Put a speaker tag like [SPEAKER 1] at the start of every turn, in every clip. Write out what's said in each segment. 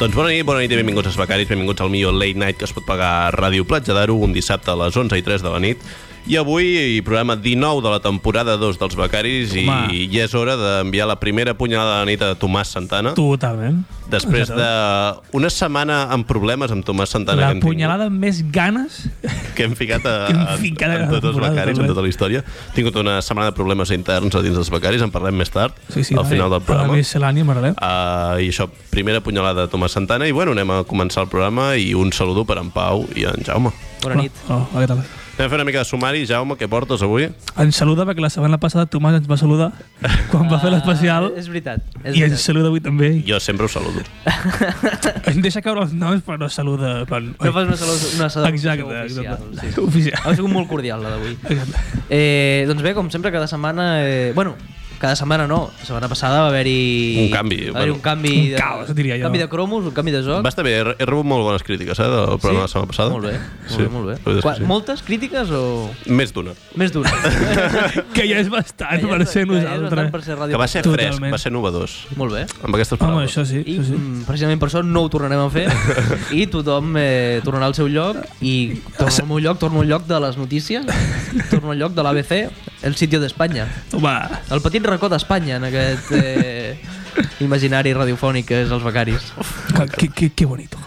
[SPEAKER 1] Doncs bona nit, bona nit i benvinguts als becaris, benvinguts al millor Late Night que es pot pagar a Ràdio Platja d'Aro un dissabte a les 11 i 3 de la nit. I avui, programa 19 de la temporada 2 dels becaris i,
[SPEAKER 2] Home.
[SPEAKER 1] i ja és hora d'enviar la primera punyalada de la nit a Tomàs Santana.
[SPEAKER 2] Totalment.
[SPEAKER 1] Després d'una setmana amb problemes amb Tomàs Santana
[SPEAKER 2] La
[SPEAKER 1] que hem tingut.
[SPEAKER 2] punyalada amb més ganes...
[SPEAKER 1] que hem ficat a,
[SPEAKER 2] Que hem
[SPEAKER 1] a,
[SPEAKER 2] ficat a
[SPEAKER 1] en
[SPEAKER 2] la
[SPEAKER 1] tots els
[SPEAKER 2] temporada, eh?
[SPEAKER 1] becaris, en
[SPEAKER 2] també.
[SPEAKER 1] tota la història. He tingut una setmana de problemes interns a dins dels becaris, en parlem més tard,
[SPEAKER 2] Sí, sí,
[SPEAKER 1] al final del programa.
[SPEAKER 2] Més l'ànim, Marlem.
[SPEAKER 1] Uh, I això, primera punyalada de Tomàs Santana, i bueno, anem a començar el programa, i un saludo per en Pau i en Jaume.
[SPEAKER 3] Bona nit.
[SPEAKER 2] Oh, oh, què tal?
[SPEAKER 1] Anem a fer una mica de sumari, Jaume, què portes avui?
[SPEAKER 2] Ens saluda perquè la setmana passada Tomàs ens va saludar quan va fer l'especial
[SPEAKER 3] Ah, és veritat.
[SPEAKER 2] i
[SPEAKER 3] És
[SPEAKER 2] ens
[SPEAKER 3] veritat.
[SPEAKER 2] saluda avui també.
[SPEAKER 1] Jo sempre ho saludo.
[SPEAKER 2] Ens deixa caure els noms però no saluda. Però...
[SPEAKER 3] No fas una salut, una salut
[SPEAKER 2] Exacte,
[SPEAKER 3] oficial.
[SPEAKER 2] exacte.
[SPEAKER 3] Sí. Ha
[SPEAKER 2] Oficial.
[SPEAKER 3] sigut molt cordial, la d'avui.
[SPEAKER 2] Exacte.
[SPEAKER 3] Eh, doncs bé, com sempre, cada setmana... Eh, bueno, cada setmana no. La setmana passada va haver-hi...
[SPEAKER 1] Un canvi,
[SPEAKER 3] Va haver
[SPEAKER 1] bueno.
[SPEAKER 3] un canvi...
[SPEAKER 2] Un caos, diria jo.
[SPEAKER 3] Un canvi de cromos, un canvi de joc.
[SPEAKER 1] Va estar bé, he, he rebut molt bones crítiques, eh, del programa de la setmana passada.
[SPEAKER 3] Ah. Molt bé, molt bé, molt bé.
[SPEAKER 1] la veritat és que
[SPEAKER 3] Qua,
[SPEAKER 1] sí.
[SPEAKER 3] Moltes crítiques o...
[SPEAKER 1] Més d'una.
[SPEAKER 3] Més d'una.
[SPEAKER 2] Que ja és bastant per ser
[SPEAKER 3] Que ja és bastant Per
[SPEAKER 2] nosaltres.
[SPEAKER 3] ser ràdio.
[SPEAKER 1] Que va ser
[SPEAKER 2] Totalment.
[SPEAKER 1] fresc, va ser novedós.
[SPEAKER 3] Molt bé.
[SPEAKER 1] Amb aquestes
[SPEAKER 2] Home,
[SPEAKER 1] paraules.
[SPEAKER 2] això sí,
[SPEAKER 3] I
[SPEAKER 2] això sí.
[SPEAKER 3] mm, precisament per això no ho tornarem a fer i tothom eh, tornarà al seu lloc i torno al meu lloc, torno al lloc de les notícies, torno al lloc de l'ABC, el sitio d'Espanya.
[SPEAKER 2] Home,
[SPEAKER 3] El petit racó d'Espanya en aquest eh, imaginari radiofònic que és els becaris.
[SPEAKER 2] que, que, que, que bonito.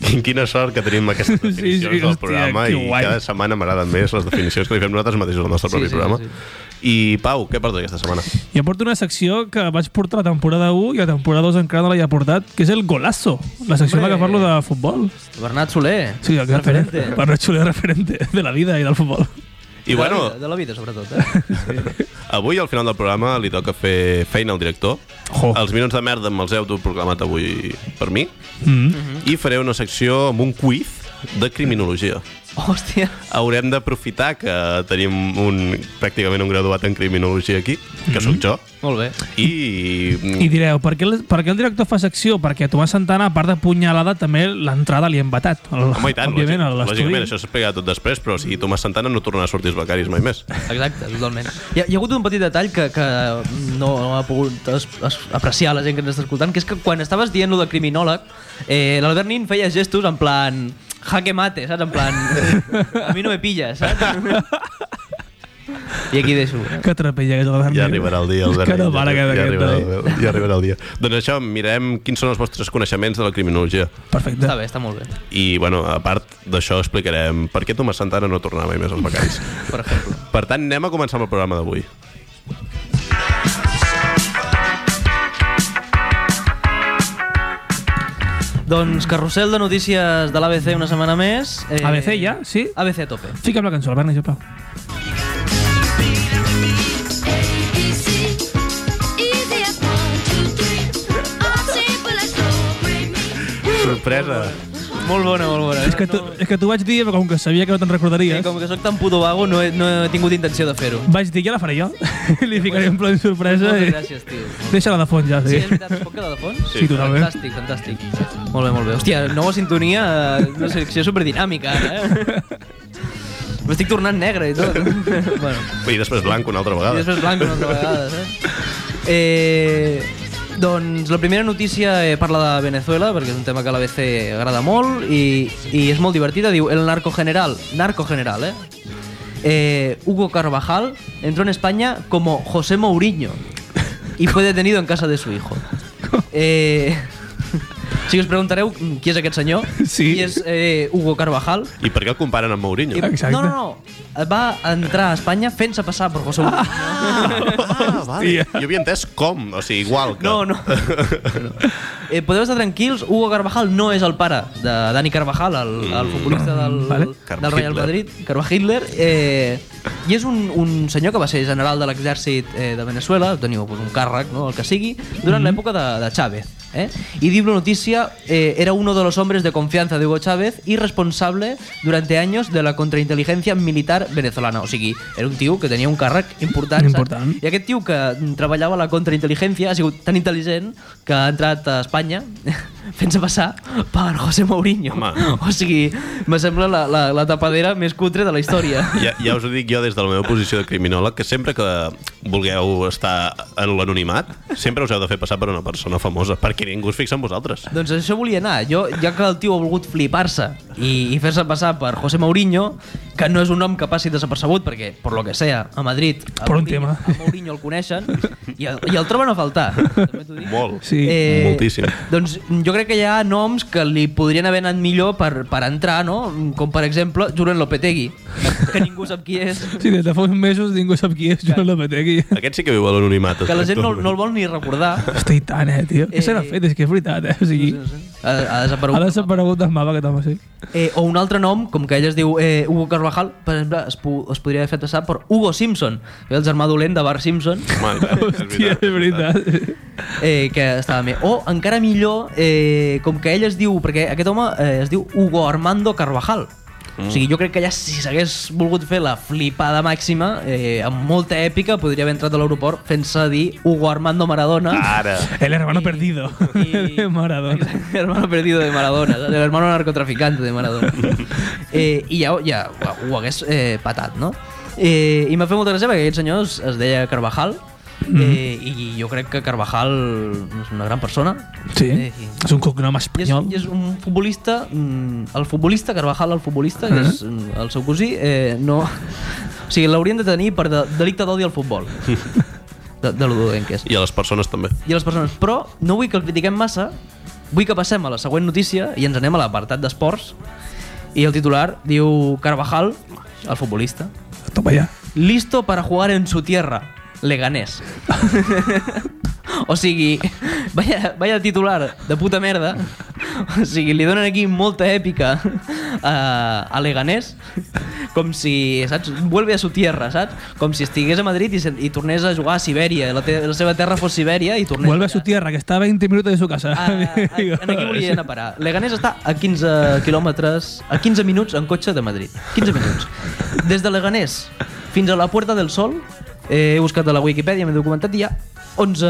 [SPEAKER 1] Quin- Quina sort que tenim aquestes
[SPEAKER 2] Sí, sí,
[SPEAKER 1] definicions sí, sí, del
[SPEAKER 2] hòstia,
[SPEAKER 1] programa
[SPEAKER 2] que
[SPEAKER 1] i
[SPEAKER 2] guai.
[SPEAKER 1] cada setmana m'agraden més les definicions que li fem nosaltres mateixos al nostre
[SPEAKER 3] Sí,
[SPEAKER 1] propi
[SPEAKER 3] sí,
[SPEAKER 1] programa.
[SPEAKER 3] sí,
[SPEAKER 1] I Pau, què portes aquesta setmana?
[SPEAKER 2] Jo porto una secció que vaig portar la temporada 1 i la temporada 2 encara no l'havia portat, que és el golazo, la secció en la que
[SPEAKER 3] Hombre.
[SPEAKER 2] parlo de futbol.
[SPEAKER 3] Bernat Soler,
[SPEAKER 2] Sí, exactament.
[SPEAKER 3] referente.
[SPEAKER 2] Per no xuler referente de la vida i del futbol.
[SPEAKER 3] Doncs,
[SPEAKER 1] I bueno,
[SPEAKER 3] de, la vida, de la vida, sobretot. Eh?
[SPEAKER 1] avui al final del programa li toca fer feina al director.
[SPEAKER 2] Jo.
[SPEAKER 1] Els minuts de merda me'ls heu proclamat avui per mi.
[SPEAKER 2] Mm.
[SPEAKER 3] Mm-hmm.
[SPEAKER 1] I faré una secció amb un quiz de criminologia.
[SPEAKER 2] Mm.
[SPEAKER 3] Hòstia.
[SPEAKER 1] Haurem d'aprofitar que tenim un, pràcticament un graduat en criminologia aquí, que sóc jo,
[SPEAKER 3] Molt bé.
[SPEAKER 1] i...
[SPEAKER 2] Mhm. I direu, per què, el, per què el director fa secció? Perquè a Tomàs Santana, a part de punyalada, també l'entrada li ha embatat. El,
[SPEAKER 1] Home, i tant, lògic-
[SPEAKER 2] òbviament, a l'estudi.
[SPEAKER 1] lògicament, això s'explicarà tot després, però si Tomàs Santana no tornarà a sortir els becaris mai més.
[SPEAKER 3] Exacte, totalment. Hi ha, hi ha hagut un petit detall que, que no, no ha pogut es, es, apreciar la gent que ens està escoltant, que és que quan estaves dient lo de criminòleg, eh, l'Albert Nin feia gestos en plan jaque mate, saps? En plan, a mi no me pilles, saps? I aquí deixo.
[SPEAKER 2] Que trapella que és el
[SPEAKER 1] Ja arribarà el dia, Albert.
[SPEAKER 2] Que no para
[SPEAKER 1] ja,
[SPEAKER 2] aquest,
[SPEAKER 1] ja,
[SPEAKER 2] aquest
[SPEAKER 1] arribarà,
[SPEAKER 2] noi.
[SPEAKER 1] el- ja arribarà el dia. Doncs això, mirem quins són els vostres coneixements de la criminologia.
[SPEAKER 2] Perfecte.
[SPEAKER 3] Està bé, està molt bé,
[SPEAKER 1] I, bueno, a part d'això explicarem per què Tomàs Santana no tornarà mai més als becaris.
[SPEAKER 3] per exemple.
[SPEAKER 1] Per tant, anem a començar amb el programa d'avui.
[SPEAKER 3] Doncs carrusel de notícies de l'ABC una setmana més. Eh,
[SPEAKER 2] ABC ja, sí?
[SPEAKER 3] ABC a tope.
[SPEAKER 2] Fica'm la cançó, Albert, sisplau.
[SPEAKER 1] Sorpresa!
[SPEAKER 3] Molt bona, molt bona.
[SPEAKER 2] És que, tu, és que t'ho vaig dir, però com que sabia que no te'n recordaries,
[SPEAKER 3] Sí, com que sóc tan puto vago, no he, no he tingut intenció de fer-ho.
[SPEAKER 2] vaig dir, ja la faré jo. Li ficaré un plan sorpresa.
[SPEAKER 3] Moltes
[SPEAKER 2] i-
[SPEAKER 3] gràcies, tio.
[SPEAKER 2] Deixa-la de fons, ja,
[SPEAKER 3] Sí,
[SPEAKER 2] sí.
[SPEAKER 3] és veritat, es pot quedar de fons?
[SPEAKER 2] Sí, totalment.
[SPEAKER 3] Fantàstic, fantàstic. Molt bé, molt bé. Hòstia, nova sintonia, eh, una selecció superdinàmica, ara, eh? M'estic tornant negre i tot. bueno,
[SPEAKER 1] I després blanc una altra
[SPEAKER 3] i
[SPEAKER 1] vegada.
[SPEAKER 3] després blanc una altra vegada, eh? eh doncs la primera notícia eh, parla de Venezuela, perquè és un tema que a l'ABC agrada molt i, i és molt divertida. Diu, el narco general, narco general, eh? eh Hugo Carvajal entró en España como José Mourinho y fue detenido en casa de su hijo. Eh, si us preguntareu mm, qui és aquest senyor,
[SPEAKER 2] Sí.
[SPEAKER 3] qui és eh, Hugo Carvajal,
[SPEAKER 1] I per què el comparen amb Mourinho?
[SPEAKER 2] Exacte.
[SPEAKER 3] no, no, no, va entrar a Espanya fent-se passar per José Mourinho.
[SPEAKER 1] Ah, vale. Jo havia entès com, o sigui, igual que...
[SPEAKER 3] No, no. eh, podeu estar tranquils, Hugo Carvajal no és el pare de Dani Carvajal, el, el futbolista del,
[SPEAKER 2] Mm, Vale.
[SPEAKER 3] del Real
[SPEAKER 1] Hitler.
[SPEAKER 3] Madrid, Carvajal Hitler, eh, i és un, un senyor que va ser general de l'exèrcit eh, de Venezuela, teniu pues, un càrrec, no, el que sigui,
[SPEAKER 2] Mm-hmm.
[SPEAKER 3] durant l'època de, de Chávez. Eh? Y diu la noticia, eh, era uno de los hombres de confianza de Hugo Chávez y responsable durante años de la contrainteligencia militar venezolana. O sigui, era un tio que tenia un càrrec important. saps?
[SPEAKER 2] Important.
[SPEAKER 3] I aquest tio que treballava a la contraintel·ligència ha sigut tan intel·ligent que ha entrat a Espanya fent-se passar per José Mourinho.
[SPEAKER 1] Home.
[SPEAKER 3] O sigui, me sembla la, la, la tapadera més cutre de la història.
[SPEAKER 1] Ja, ja us ho dic jo des de la meva posició de criminòleg, que sempre que vulgueu estar en l'anonimat, sempre us heu de fer passar per una persona famosa, perquè que ningú es fixa en vosaltres.
[SPEAKER 3] Doncs a això volia anar. Jo, ja que el tio ha volgut flipar-se i, i fer-se passar per José Mourinho, que no és un nom que passi desapercebut, perquè, per lo que sea, a Madrid a
[SPEAKER 2] Per un
[SPEAKER 3] Mourinho,
[SPEAKER 2] tema.
[SPEAKER 3] a Mourinho el coneixen i el, i el troben a faltar. També t'ho dic.
[SPEAKER 1] Molt.
[SPEAKER 2] Sí.
[SPEAKER 3] Eh,
[SPEAKER 1] Moltíssim.
[SPEAKER 3] Doncs jo crec que hi ha noms que li podrien haver anat millor per, per entrar, no? Com per exemple, Julen Lopetegui, que- que ningú sap qui és,
[SPEAKER 2] Sí, des de fa uns mesos ningú sap qui és, jo no la petegui.
[SPEAKER 3] Eh.
[SPEAKER 1] Aquest sí que viu a l'anonimat.
[SPEAKER 3] que la gent no, no el
[SPEAKER 1] exactament.
[SPEAKER 3] vol ni recordar.
[SPEAKER 2] Hosti, i tant, eh, tio. Què se n'ha
[SPEAKER 3] Eh,
[SPEAKER 2] fet? És que és veritat, eh? O sigui,
[SPEAKER 3] Ha, ha desaparegut.
[SPEAKER 2] ha desaparegut del mapa aquest home, sí.
[SPEAKER 3] Eh, o un altre nom, com que ell es diu eh, Hugo Carvajal, per exemple, es, po es podria haver fet passar per Hugo Simpson, que és el germà dolent de Bart Simpson,
[SPEAKER 1] Home, eh? és
[SPEAKER 2] Hòstia, és veritat.
[SPEAKER 3] eh, que estava bé. O, encara millor, eh, com que ell es diu... Perquè aquest home eh, es diu Hugo Armando Carvajal. Mm. O sigui, jo crec que ja si s'hagués volgut fer la flipada màxima, eh, amb molta èpica, podria haver entrat a l'aeroport fent-se dir Hugo Armando Maradona.
[SPEAKER 1] Ara.
[SPEAKER 2] El hermano perdido.
[SPEAKER 3] Y-
[SPEAKER 2] Maradona.
[SPEAKER 3] Exacte, hermano perdido de Maradona, ¿sabes? el hermano narcotraficante de Maradona. Eh, I ja, ja ho, ho hagués eh, patat, no? Eh, I m'ha fet molta gràcia perquè aquest senyor es, es deia Carvajal, eh, i jo crec que Carvajal és una gran persona.
[SPEAKER 2] Sí,
[SPEAKER 3] i-
[SPEAKER 2] és un cognom
[SPEAKER 3] i és,
[SPEAKER 2] espanyol.
[SPEAKER 3] I és un futbolista, mm, el futbolista, Carvajal, el futbolista, que és mm, el seu cosí, eh, no... O sigui, l'haurien de tenir per de, delicte d'odi al futbol. De, de lo dolent que és
[SPEAKER 1] I a les persones també.
[SPEAKER 3] i a les persones. Però no vull que el critiquem massa, vull que passem a la següent notícia i ens anem a l'apartat d'esports. I el titular diu Carvajal, el futbolista,
[SPEAKER 2] Toma ja.
[SPEAKER 3] listo para jugar en su tierra, Leganés. o sigui, vaya, vaya titular de puta merda. O sigui, li donen aquí molta èpica a, a Leganés, com si, saps, vuelve a su tierra, saps? Com si estigués a Madrid i, se- i tornés a jugar a Sibèria, la, te, la seva terra fos Sibèria i tornés
[SPEAKER 2] Vuelve a
[SPEAKER 3] allà.
[SPEAKER 2] su tierra, que está a 20 minutos de su casa.
[SPEAKER 3] Ah, aquí volia anar a parar. Leganés està a 15 quilòmetres, a 15 minuts en cotxe de Madrid. 15 minuts. Des de Leganés fins a la Puerta del Sol, eh, he buscat a la Wikipedia, m'he documentat i hi ha 11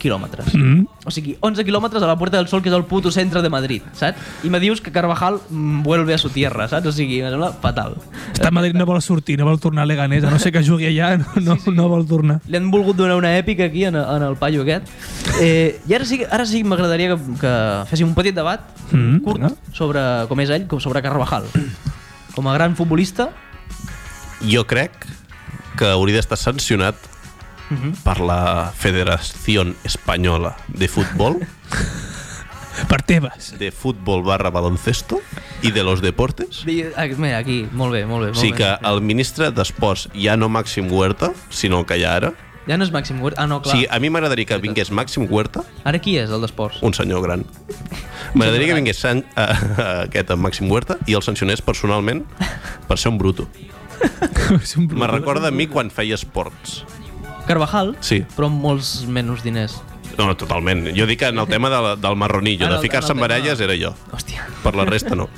[SPEAKER 3] quilòmetres.
[SPEAKER 2] Mm.
[SPEAKER 3] O sigui, 11 quilòmetres a la Puerta del Sol, que és el puto centre de Madrid, saps? I me dius que Carvajal mm, vuelve a su tierra, saps? O sigui, em sembla fatal.
[SPEAKER 2] Està a Madrid, no vol sortir, no vol tornar a Leganés, a no sé que jugui allà, no, no, no vol tornar.
[SPEAKER 3] Li han volgut donar una èpica aquí en, en el paio aquest. Eh, I ara sí, ara sí que m'agradaria que, que féssim un petit debat
[SPEAKER 2] Mm,
[SPEAKER 3] curt
[SPEAKER 2] vinga.
[SPEAKER 3] sobre com és ell, com sobre Carvajal. Com a gran futbolista,
[SPEAKER 1] Jo crec que hauria d'estar sancionat
[SPEAKER 3] Mhm.
[SPEAKER 1] per la Federació Espanyola de Futbol,
[SPEAKER 2] Per teves.
[SPEAKER 1] de futbol barra baloncesto i de los deportes.
[SPEAKER 3] di- ah, mira, aquí, molt bé, molt bé. Molt
[SPEAKER 1] Sí
[SPEAKER 3] bé.
[SPEAKER 1] que el ministre d'Esports, ja no Màxim Huerta, sinó el que hi ha ara,
[SPEAKER 3] Ja no és Màxim Huerta. Ah, no,
[SPEAKER 1] O
[SPEAKER 3] clar.
[SPEAKER 1] sigui,
[SPEAKER 3] Sí.
[SPEAKER 1] a mi m'agradaria que vingués Màxim Huerta,
[SPEAKER 3] Ara qui és, el d'esports?
[SPEAKER 1] un senyor gran. M'agradaria que vingués San, a, aquest en Màxim Huerta i el sancionés personalment per ser un bruto.
[SPEAKER 2] És un
[SPEAKER 1] Me recorda a mi quan feia esports.
[SPEAKER 3] Carvajal,
[SPEAKER 1] Sí.
[SPEAKER 3] però amb molts menys diners.
[SPEAKER 1] No, no, totalment. Jo dic que en el tema de, la- del marronillo,
[SPEAKER 3] Ara,
[SPEAKER 1] de
[SPEAKER 3] el-
[SPEAKER 1] ficar-se
[SPEAKER 3] el
[SPEAKER 1] en
[SPEAKER 3] tema-
[SPEAKER 1] baralles, era jo.
[SPEAKER 3] Hòstia.
[SPEAKER 1] Per la resta, no.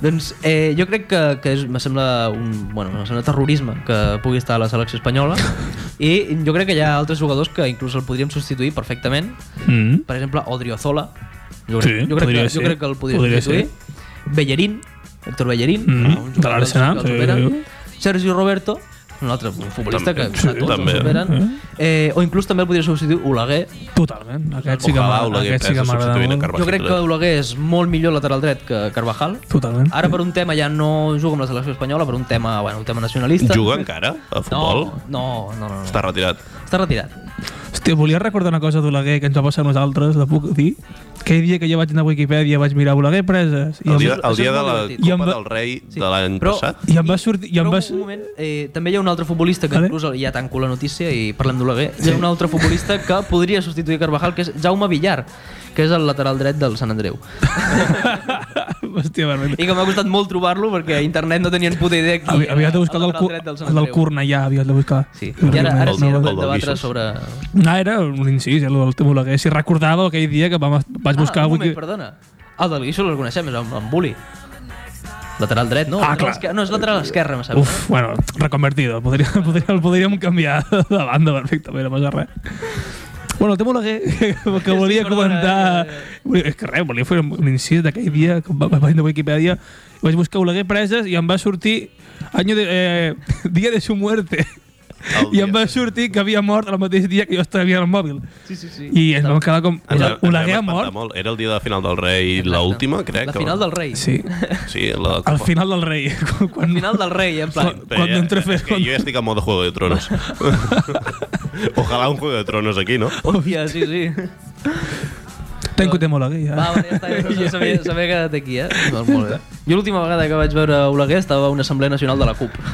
[SPEAKER 3] Doncs eh, jo crec que, que és, me sembla un, bueno, me sembla terrorisme que pugui estar a la selecció espanyola i jo crec que hi ha altres jugadors que inclús el podríem substituir perfectament
[SPEAKER 2] Mm.
[SPEAKER 3] per exemple Odriozola jo
[SPEAKER 2] Sí,
[SPEAKER 3] crec, jo crec,
[SPEAKER 2] podria
[SPEAKER 3] que,
[SPEAKER 2] ser.
[SPEAKER 3] jo crec que el podria,
[SPEAKER 2] Podria
[SPEAKER 3] substituir Bellerín, Héctor Bellerín Ah,
[SPEAKER 2] Mhm,
[SPEAKER 3] un jugador
[SPEAKER 2] de l'Arsenal,
[SPEAKER 3] que els
[SPEAKER 2] sí,
[SPEAKER 3] supera.
[SPEAKER 2] sí,
[SPEAKER 3] Sergio Roberto un altre futbolista
[SPEAKER 1] També,
[SPEAKER 3] que
[SPEAKER 1] sí,
[SPEAKER 3] a tots
[SPEAKER 1] també.
[SPEAKER 3] el
[SPEAKER 2] Mm.
[SPEAKER 3] superen eh, o inclús també el podria substituir Oleguer
[SPEAKER 2] Totalment. Aquest sí que
[SPEAKER 1] Ojalà
[SPEAKER 2] m'agrada.
[SPEAKER 1] Oleguer
[SPEAKER 2] Aquest sí que
[SPEAKER 1] Pérez
[SPEAKER 2] m'agrada
[SPEAKER 1] substituint a
[SPEAKER 2] molt.
[SPEAKER 1] Carvajal.
[SPEAKER 3] jo crec que Oleguer és molt millor lateral dret que Carvajal
[SPEAKER 2] Totalment.
[SPEAKER 3] Ara per un tema ja no jugo amb la selecció espanyola, per un tema, bueno, un tema nacionalista.
[SPEAKER 1] Juga encara a futbol?
[SPEAKER 3] No, no, no, no. no.
[SPEAKER 1] Està retirat.
[SPEAKER 3] Està retirat.
[SPEAKER 2] Hòstia, volia recordar una cosa d'Oleguer que ens va passar a nosaltres, la puc dir? Aquell dia que jo vaig anar a Wikipedia vaig mirar Oleguer preses i
[SPEAKER 1] El
[SPEAKER 2] em,
[SPEAKER 1] dia,
[SPEAKER 3] això
[SPEAKER 1] el
[SPEAKER 3] és
[SPEAKER 1] dia de
[SPEAKER 3] molt
[SPEAKER 1] la
[SPEAKER 3] divertit.
[SPEAKER 2] I em
[SPEAKER 1] Copa
[SPEAKER 2] va-
[SPEAKER 1] del Rei
[SPEAKER 3] Sí.
[SPEAKER 1] de l'any
[SPEAKER 3] Però-
[SPEAKER 1] passat.
[SPEAKER 2] i em va sortir... I em
[SPEAKER 3] Però
[SPEAKER 2] va...
[SPEAKER 3] un moment, eh, també hi ha un altre futbolista que
[SPEAKER 2] Vale.
[SPEAKER 3] inclús ja tanco la notícia i parlem d'Oleguer. Hi ha un altre futbolista que podria substituir Carvajal, que és Jaume Villar, que és el lateral dret del Sant Andreu.
[SPEAKER 2] Hòstia, vermell.
[SPEAKER 3] I que m'ha costat molt trobar-lo perquè a internet no tenien puta idea qui
[SPEAKER 2] Havi- Havies de buscar el del,
[SPEAKER 3] lateral
[SPEAKER 2] cu...
[SPEAKER 3] dret
[SPEAKER 2] el del Cornellà, havies de buscar.
[SPEAKER 3] Sí. I ara, ara sí,
[SPEAKER 1] El
[SPEAKER 3] ara
[SPEAKER 1] del
[SPEAKER 3] podem debatre
[SPEAKER 1] Guixos.
[SPEAKER 3] sobre...
[SPEAKER 2] Ah, era un incís, eh, el del Tim Oleguer. Si recordava aquell dia que vam, vaig buscar...
[SPEAKER 3] ah,
[SPEAKER 2] a
[SPEAKER 3] un moment,
[SPEAKER 2] Wiki-
[SPEAKER 3] perdona. El del Guixo el coneixem, és amb, amb Bully. Lateral dret, no?
[SPEAKER 2] Ah,
[SPEAKER 3] Lateral
[SPEAKER 2] clar.
[SPEAKER 3] esquer- No, és lateral esquerre, me sembla.
[SPEAKER 2] Uf, bueno, reconvertido. Podria, podria, el podríem canviar de banda perfectament, no passa res. Bueno, el tema Oleguer, que, que volia
[SPEAKER 3] perdona,
[SPEAKER 2] comentar...
[SPEAKER 3] eh,
[SPEAKER 2] Volia, és que res, volia fer un incís d'aquell dia que va- vaig anar a Wikipedia i vaig buscar Oleguer preses i em va sortir any de, eh, dia de su muerte.
[SPEAKER 1] El
[SPEAKER 3] Oh,
[SPEAKER 2] I
[SPEAKER 1] dia.
[SPEAKER 2] em va sortir que havia mort el mateix dia que jo estava mirant el mòbil.
[SPEAKER 3] Sí, sí, sí.
[SPEAKER 2] I ens vam quedar com...
[SPEAKER 1] Ens vam- ens vam
[SPEAKER 2] Oleguer ha
[SPEAKER 1] espantar
[SPEAKER 2] mort.
[SPEAKER 1] Molt. Era el dia de la final del rei, l'última, crec.
[SPEAKER 3] La
[SPEAKER 1] que-
[SPEAKER 3] final del rei.
[SPEAKER 2] Sí.
[SPEAKER 1] Sí, la
[SPEAKER 2] Al final del rei. Quan,
[SPEAKER 3] La final del rei, en plan...
[SPEAKER 1] Pero
[SPEAKER 2] Cuando
[SPEAKER 1] ya-
[SPEAKER 2] entré fue
[SPEAKER 1] es que
[SPEAKER 2] cuando-
[SPEAKER 1] Yo ya estoy como de Juego de Tronos. Ojalá un Juego de Tronos aquí, ¿no?
[SPEAKER 3] Hòstia, sí, sí.
[SPEAKER 2] Tenc un temòleg, ja.
[SPEAKER 3] Va, vale, ja està, ja s'havia s'havia quedat aquí, eh? Molt, molt bé. Jo l'última vegada que vaig veure Oleguer estava a una assemblea nacional de la CUP.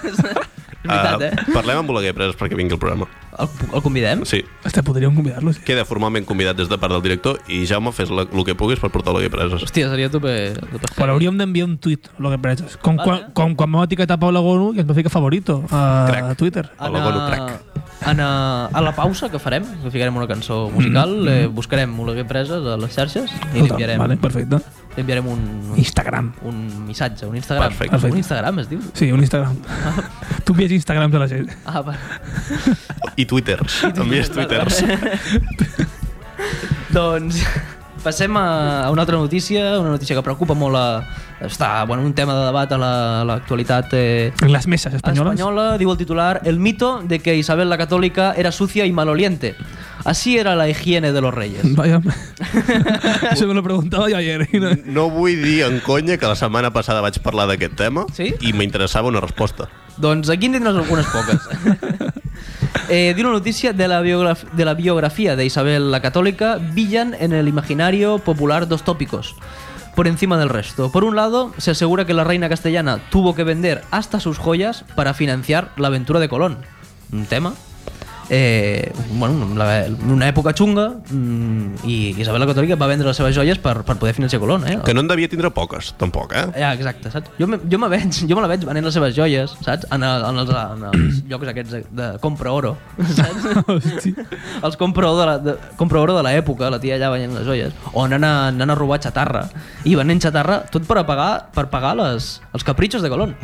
[SPEAKER 3] és veritat,
[SPEAKER 1] Ah,
[SPEAKER 3] eh?
[SPEAKER 1] Parlem amb Oleguer Pres perquè vingui el programa.
[SPEAKER 3] El, el convidem?
[SPEAKER 1] Sí.
[SPEAKER 2] Hòstia, podríem convidar-lo, sí.
[SPEAKER 1] Queda formalment convidat des de part del director i Jaume, fes la- el que puguis per portar Oleguer Pres.
[SPEAKER 3] Hòstia, seria tope... tope
[SPEAKER 2] Però hauríem d'enviar un tuit, lo que preses. Com,
[SPEAKER 3] Vale.
[SPEAKER 2] quan, com quan vam etiquetar Paula Gonu i ens va ficar favorito a, a
[SPEAKER 1] Crack.
[SPEAKER 2] Twitter.
[SPEAKER 1] Hola, bueno, crac.
[SPEAKER 3] Anar eh, a la pausa que farem, que ficarem una cançó musical, eh, buscarem Oleguer Preses a les xarxes i li
[SPEAKER 2] Total,
[SPEAKER 3] enviarem,
[SPEAKER 2] Vale, perfecte.
[SPEAKER 3] li enviarem un, un,
[SPEAKER 2] Instagram.
[SPEAKER 3] un missatge, un Instagram.
[SPEAKER 1] Perfecte.
[SPEAKER 2] Perfecte.
[SPEAKER 3] Un Instagram es diu?
[SPEAKER 2] Sí, un Instagram. tu envies Instagrams a la gent.
[SPEAKER 3] Ah, va.
[SPEAKER 1] I Twitter. Envies Twitters.
[SPEAKER 3] doncs passem a, a una altra notícia, una notícia que preocupa molt a... Està, bueno, un tema de debat a la- a l'actualitat la, eh,
[SPEAKER 2] En les meses espanyoles.
[SPEAKER 3] española, digo el titular, el mito de que Isabel la Católica era sucia y maloliente. Así era la higiene de los reyes.
[SPEAKER 2] Vaya. Eso me lo preguntaba yo ayer. y no-
[SPEAKER 1] No vull dir en conya que la setmana passada vaig parlar d'aquest tema
[SPEAKER 3] Sí?
[SPEAKER 1] i m'interessava una resposta.
[SPEAKER 3] Doncs aquí en tindràs algunes poques. eh, di una notícia de la, biograf de la biografía de Isabel la Católica, villan en el imaginario popular dos tópicos. Por encima del resto. Por un lado, se asegura que la reina castellana tuvo que vender hasta sus joyas para financiar la aventura de Colón. Un tema. Eh, bueno, la, una època xunga mm, i Isabel la Catòlica va vendre les seves joies per, per poder financiar Colón, eh?
[SPEAKER 1] Que no en devia tindre poques, tampoc, eh?
[SPEAKER 3] Ja, exacte, saps? Jo, me, jo, me veig, jo me la veig venent les seves joies, saps? En, el, en, els, en els llocs aquests de, de compra oro, saps?
[SPEAKER 2] Hòstia.
[SPEAKER 3] els compra oro de la- de, compra oro de l'època, la tia allà venent les joies, o anant a, anant a robar xatarra, i venent xatarra tot per a pagar, per pagar les, els capritxos de Colón,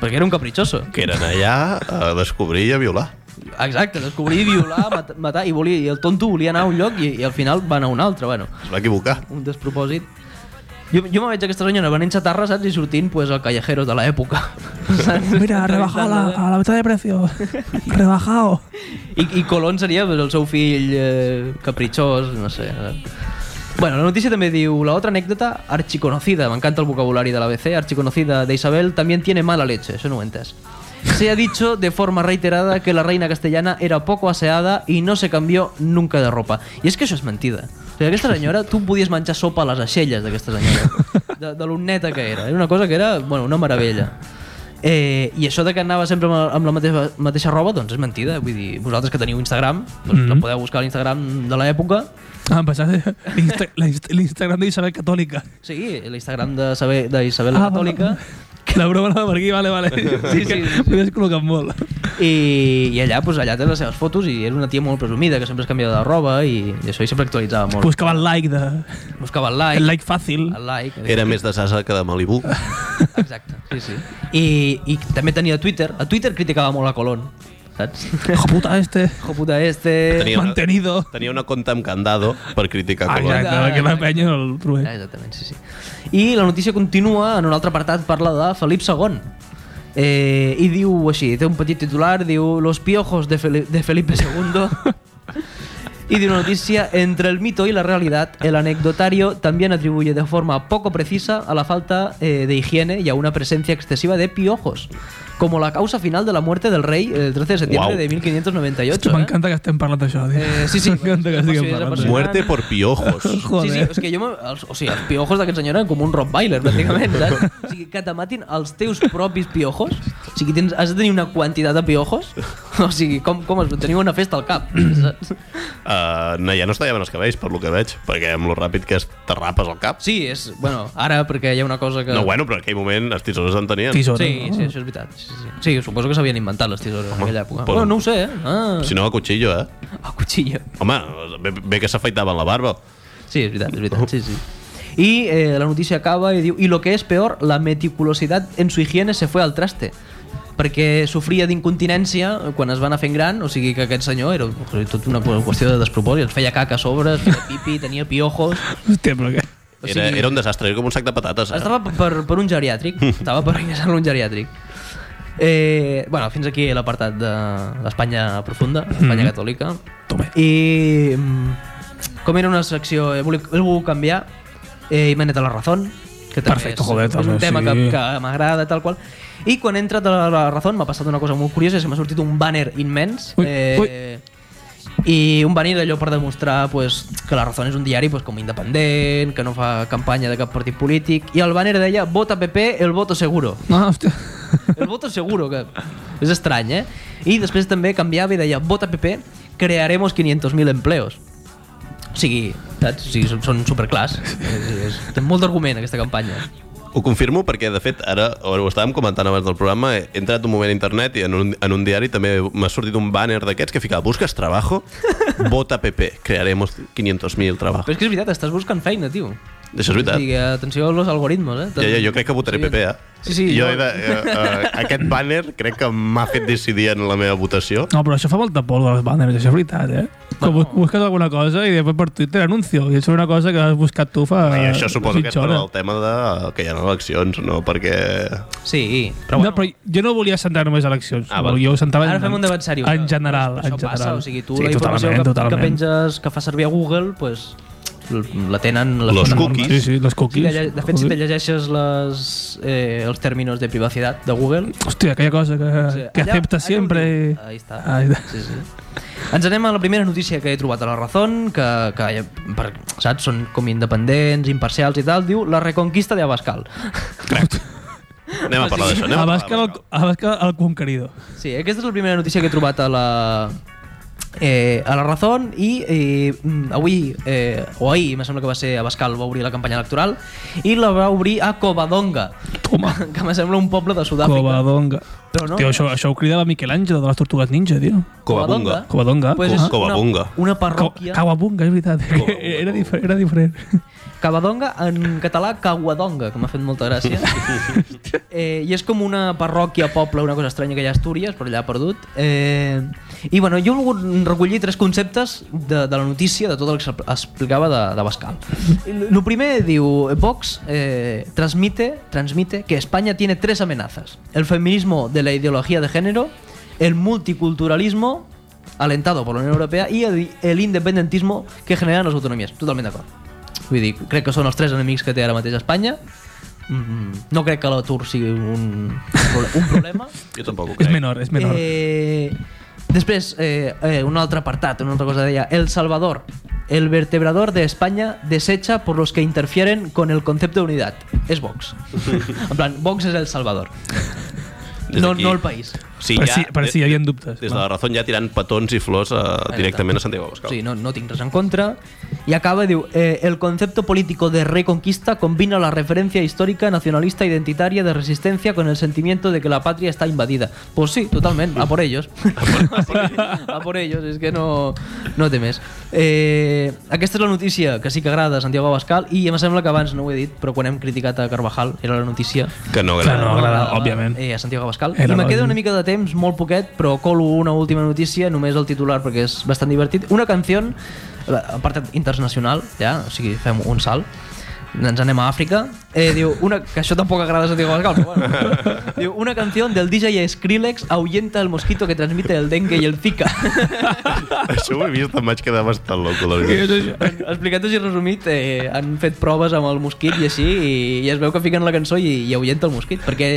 [SPEAKER 3] perquè era un capritxoso.
[SPEAKER 1] Que eren allà a descobrir i a violar.
[SPEAKER 3] Exacte, descobrir, violar, mat, matar, i, volia, i el tonto volia anar a un lloc i, i al final va anar a un altre, bueno.
[SPEAKER 1] Es va equivocar.
[SPEAKER 3] un despropòsit. Jo, jo me veig aquesta senyora venent xatarra, saps? I sortint, pues, al Callejeros de l'època. Saps?
[SPEAKER 2] Mira, rebajado a la, a la mitad de precio. Rebajado.
[SPEAKER 3] I, I Colón seria pues, el seu fill eh, capritxós, no sé. eh. Bueno, la noticia també diu La otra anécdota archiconocida Me encanta el vocabulario de la ABC Archiconocida de Isabel También tiene mala leche Eso no ho he entès. Se ha dicho de forma reiterada Que la reina castellana era poco aseada Y no se cambió nunca de ropa I és que això és mentida o sigui, aquesta senyora, tu podies menjar sopa a les aixelles d'aquesta senyora, de, de lo neta que era. Era una cosa que era, bueno, una meravella. Eh, I això de que anava sempre amb la, amb la mateixa, mateixa roba, doncs és mentida. Vull dir, vosaltres que teniu Instagram, doncs mm -hmm. la podeu buscar a l'Instagram de l'època.
[SPEAKER 2] Ah, em pensava el Insta- la Insta- el Instagram de Isabel Católica.
[SPEAKER 3] Sí, l'Instagram de Sabe- d'Isabel la
[SPEAKER 2] Ah, vale.
[SPEAKER 3] Catòlica.
[SPEAKER 2] Que la broma anava per aquí, vale, vale. Sí,
[SPEAKER 3] sí, sí.
[SPEAKER 2] M'he descol·locat molt.
[SPEAKER 3] I, I allà, doncs, allà té les seves fotos i era una tia molt presumida, que sempre es canviava de roba i, i això i sempre actualitzava molt.
[SPEAKER 2] Buscava el like de...
[SPEAKER 3] Buscava el like,
[SPEAKER 2] El like fàcil.
[SPEAKER 3] el like
[SPEAKER 1] Era més de Sasa que de Malibu.
[SPEAKER 3] exacte. Sí, sí. I, I també tenia Twitter. A Twitter criticava molt a Colón, saps?
[SPEAKER 2] Hijo puta este.
[SPEAKER 3] Hijo puta este...
[SPEAKER 1] Tenia una-
[SPEAKER 2] Mantenido.
[SPEAKER 1] Tenia una conta amb candado per criticar
[SPEAKER 2] Ah,
[SPEAKER 1] Colón.
[SPEAKER 2] exacte, que la penya no el trobem.
[SPEAKER 3] Ah, exactament, sí, sí. I la notícia continua, en un altre apartat parla de Felip II. Eh, I diu així, té un petit titular, diu Los piojos de, Feli de Felipe II. Y de una noticia, entre el mito y la realidad, el anecdotario también atribuye de forma poco precisa a la falta eh, de higiene y a una presencia excesiva de piojos, como la causa final de la muerte del rey el 13 de septiembre
[SPEAKER 1] Guau.
[SPEAKER 3] de 1598.
[SPEAKER 2] Hòstia, M'encanta que estem parlant d'això, tio.
[SPEAKER 3] Eh, sí, sí.
[SPEAKER 2] M'encanta que
[SPEAKER 3] Sí, sí,
[SPEAKER 2] estiguem
[SPEAKER 3] és la
[SPEAKER 2] parlant
[SPEAKER 3] persona-
[SPEAKER 2] d'això.
[SPEAKER 1] Muerte por piojos.
[SPEAKER 2] Joder.
[SPEAKER 3] Sí, sí, és que jo... me- Els, o sigui, els piojos d'aquest senyor eren com un Rottweiler, pràcticament, saps? O sigui, que te matin els teus propis piojos? O sigui, tens, has de tenir una quantitat de piojos? O sigui, com, com es teniu una festa al cap, saps?
[SPEAKER 1] Uh, no, ja no es tallaven els cabells, per lo que veig, perquè amb lo ràpid que es te rapes el cap.
[SPEAKER 3] Sí, és... Bueno, ara, perquè hi ha una cosa que...
[SPEAKER 1] No, bueno, però en aquell moment els tisores en tenien.
[SPEAKER 2] Tisora,
[SPEAKER 3] Sí,
[SPEAKER 2] no?
[SPEAKER 3] sí, això és veritat. Sí, sí. sí suposo que s'havien inventat les tisores en aquella època.
[SPEAKER 1] però-
[SPEAKER 3] Bueno, no ho sé, eh? Ah,
[SPEAKER 1] Si no, a cuchillo, eh?
[SPEAKER 3] a cuchillo.
[SPEAKER 1] Home, bé, bé que s'afaitaven la barba.
[SPEAKER 3] Sí, és veritat, és veritat, sí, sí. Y eh, la noticia acaba y diu y lo que es peor, la meticulosidad en su higiene se fue al traste perquè sofria d'incontinència quan es va anar fent gran, o sigui que aquest senyor era o sigui, tot una qüestió de despropòsit, ens feia caca a sobre, es feia pipi, tenia piojos...
[SPEAKER 2] Hòstia, però què?
[SPEAKER 3] O
[SPEAKER 1] Era,
[SPEAKER 3] sigui-
[SPEAKER 1] era un desastre, era com un sac de patates. Eh?
[SPEAKER 3] Estava per, per un geriàtric, estava per ingressar en un geriàtric. Eh, bueno, fins aquí l'apartat de l'Espanya profunda, l'Espanya
[SPEAKER 2] Mhm.
[SPEAKER 3] catòlica.
[SPEAKER 2] Tome.
[SPEAKER 3] I mm, com era una secció, he volgut, he volgut canviar eh, i m'he anat a la raó, que també
[SPEAKER 2] Perfecte,
[SPEAKER 3] és,
[SPEAKER 2] joder,
[SPEAKER 3] és
[SPEAKER 2] també,
[SPEAKER 3] un tema
[SPEAKER 2] sí.
[SPEAKER 3] que, que m'agrada, tal qual. I quan he entrat a la raó m'ha passat una cosa molt curiosa, se m'ha sortit un banner immens.
[SPEAKER 2] Ui,
[SPEAKER 3] eh,
[SPEAKER 2] ui.
[SPEAKER 3] i un banner allò per demostrar pues, que La Razón és un diari pues, com independent, que no fa campanya de cap partit polític, i el banner deia vota PP, el voto seguro.
[SPEAKER 2] Ah, hòstia.
[SPEAKER 3] El voto seguro, que és estrany, eh? I després també canviava i deia vota PP, crearemos 500.000 empleos. O sigui, saps? O sigui, són, són superclars. És, és, té molt d'argument aquesta campanya.
[SPEAKER 1] Ho confirmo perquè, de fet, ara ho estàvem comentant abans del programa, he entrat un moment a internet i en un, en un diari també m'ha sortit un banner d'aquests que ficava «Busques trabajo? Vota PP. Crearemos 500.000
[SPEAKER 3] Però
[SPEAKER 1] trabajos».
[SPEAKER 3] és que és veritat, estàs buscant feina, tio.
[SPEAKER 1] Això és
[SPEAKER 3] O
[SPEAKER 1] veritat.
[SPEAKER 3] sigui, atenció als algoritmos, eh?
[SPEAKER 1] Ja, ja, jo crec que votaré PP, eh?
[SPEAKER 3] Sí, sí,
[SPEAKER 1] jo
[SPEAKER 3] jo-
[SPEAKER 1] he de, eh, eh, aquest banner crec que m'ha fet decidir en la meva votació.
[SPEAKER 2] No, però això fa molta por dels banners, això és veritat, eh? Que bus- busques alguna cosa i després per Twitter anuncio. I això és una cosa que has buscat tu fa...
[SPEAKER 3] Ah,
[SPEAKER 1] I això suposo que és
[SPEAKER 2] mitja
[SPEAKER 1] per
[SPEAKER 2] hora.
[SPEAKER 1] el tema de eh, que hi ha eleccions, no? Perquè...
[SPEAKER 3] Sí,
[SPEAKER 2] Però,
[SPEAKER 3] però bueno.
[SPEAKER 2] no, però jo no volia centrar només a eleccions.
[SPEAKER 1] Ah,
[SPEAKER 2] Ah,
[SPEAKER 1] val.
[SPEAKER 2] jo ho centrava
[SPEAKER 3] Ara
[SPEAKER 2] en,
[SPEAKER 3] fem un debat seriós.
[SPEAKER 2] En general,
[SPEAKER 3] Això
[SPEAKER 2] en general.
[SPEAKER 3] passa, o sigui, tu sí, la informació que, que penges, que fa servir a Google, pues, l- la tenen les
[SPEAKER 1] Los
[SPEAKER 3] plataformes.
[SPEAKER 1] cookies.
[SPEAKER 2] Sí, sí, les
[SPEAKER 3] Si
[SPEAKER 2] cookies.
[SPEAKER 3] la lle- de fet, si te llegeixes les, eh, els términos de privacitat de Google...
[SPEAKER 2] Hòstia, aquella cosa que,
[SPEAKER 3] o sigui,
[SPEAKER 2] Ah, que
[SPEAKER 3] allà-
[SPEAKER 2] acepta
[SPEAKER 3] allà ho
[SPEAKER 2] sempre...
[SPEAKER 3] diu.
[SPEAKER 2] i-
[SPEAKER 3] Ahí està.
[SPEAKER 2] Ahí està.
[SPEAKER 3] Sí, sí. Ens anem a la primera notícia que he trobat a la Razón, que, que per, saps, són com independents, imparcials i tal, diu la reconquista de Abascal.
[SPEAKER 1] Anem a parlar d'això. anem a parlar
[SPEAKER 2] Abascal, el,
[SPEAKER 1] d'això.
[SPEAKER 2] Abascal el conquerido.
[SPEAKER 3] Sí, aquesta és la primera notícia que he trobat a la... Eh, a la Razón i eh, mm, avui, eh, o ahir, em sembla que va ser Abascal, va obrir la campanya electoral i la va obrir a Covadonga,
[SPEAKER 2] Toma.
[SPEAKER 3] que em sembla un poble de Sud-àfrica.
[SPEAKER 2] Covadonga.
[SPEAKER 3] Però no-
[SPEAKER 2] Tio, això, això ho cridava Miquel Àngel de les Tortugues Ninja, tio.
[SPEAKER 1] Covadonga.
[SPEAKER 2] Covadonga.
[SPEAKER 3] Pues
[SPEAKER 1] Co-
[SPEAKER 3] és una-
[SPEAKER 1] Covadonga.
[SPEAKER 3] Una parròquia.
[SPEAKER 2] Cawabunga, és veritat.
[SPEAKER 1] Cowabunga.
[SPEAKER 2] Era, difer era diferent.
[SPEAKER 3] Cavadonga, en català Caguadonga, que m'ha fet molta gràcia. eh, I és com una parròquia, poble, una cosa estranya que hi ha a Astúries, però allà ha perdut. Eh, I bueno, jo he volgut recollir tres conceptes de, de la notícia, de tot el que s'explicava de, de Bascal. El primer diu, Vox eh, transmite, transmite que España tiene tres amenazas. El feminismo de la ideología de género, el multiculturalismo alentado por la Unión Europea y el, el independentismo que generan las autonomías. Totalment d'acord. Vull dir, crec que són els tres enemics que té ara mateix Espanya. Mm, no crec que l'atur sigui un, un problema.
[SPEAKER 1] Jo tampoc ho
[SPEAKER 2] És
[SPEAKER 1] crec.
[SPEAKER 2] menor, és menor.
[SPEAKER 3] Eh, després, eh, eh, un altre apartat, una altra cosa deia. El Salvador, el vertebrador de España desecha por los que interfieren con el concepto de unidad. És Vox. en plan, Vox és el Salvador.
[SPEAKER 1] Des
[SPEAKER 3] No,
[SPEAKER 1] d'aquí-
[SPEAKER 3] no el país.
[SPEAKER 1] Sí,
[SPEAKER 2] per,
[SPEAKER 1] ja,
[SPEAKER 2] si, per si hi havia dubtes.
[SPEAKER 1] Des de
[SPEAKER 2] Va.
[SPEAKER 1] la raó ja tirant petons i flors eh, directament a Santiago Abascal.
[SPEAKER 3] Sí, no, no tinc res en contra. Y acaba, diu, eh, el concepto político de reconquista combina la referencia histórica, nacionalista, identitaria, de resistencia con el sentimiento de que la patria está invadida. Pues sí, totalmente, a por ellos. a por ellos, és que no, no té més. Eh, aquesta és la notícia que sí que agrada a Santiago Abascal i em sembla que abans no ho he dit, però quan hem criticat a Carvajal era la notícia
[SPEAKER 1] Que no
[SPEAKER 2] Clar,
[SPEAKER 1] agrada.
[SPEAKER 2] no agrada, òbviament.
[SPEAKER 3] eh, a Santiago Abascal.
[SPEAKER 2] Era
[SPEAKER 3] I me
[SPEAKER 2] la-
[SPEAKER 3] queda una mica de temps, molt poquet, però colo una última notícia, només el titular perquè és bastant divertit. Una canció, a part internacional, ja, o sigui, fem un salt. Ens anem a Àfrica. Eh, diu, una, que això tampoc agrada a Santiago Abascal, però bueno. diu, una canció del DJ Skrillex ahuyenta el mosquito que transmite el dengue i el zika.
[SPEAKER 1] Això ho he vist, em vaig quedar bastant loco. la
[SPEAKER 2] Què és
[SPEAKER 1] veritat.
[SPEAKER 2] això?
[SPEAKER 3] Explicat i resumit, eh, han fet proves amb el mosquit i així, i, i es veu que fiquen la cançó i, i ahuyenta el mosquit, perquè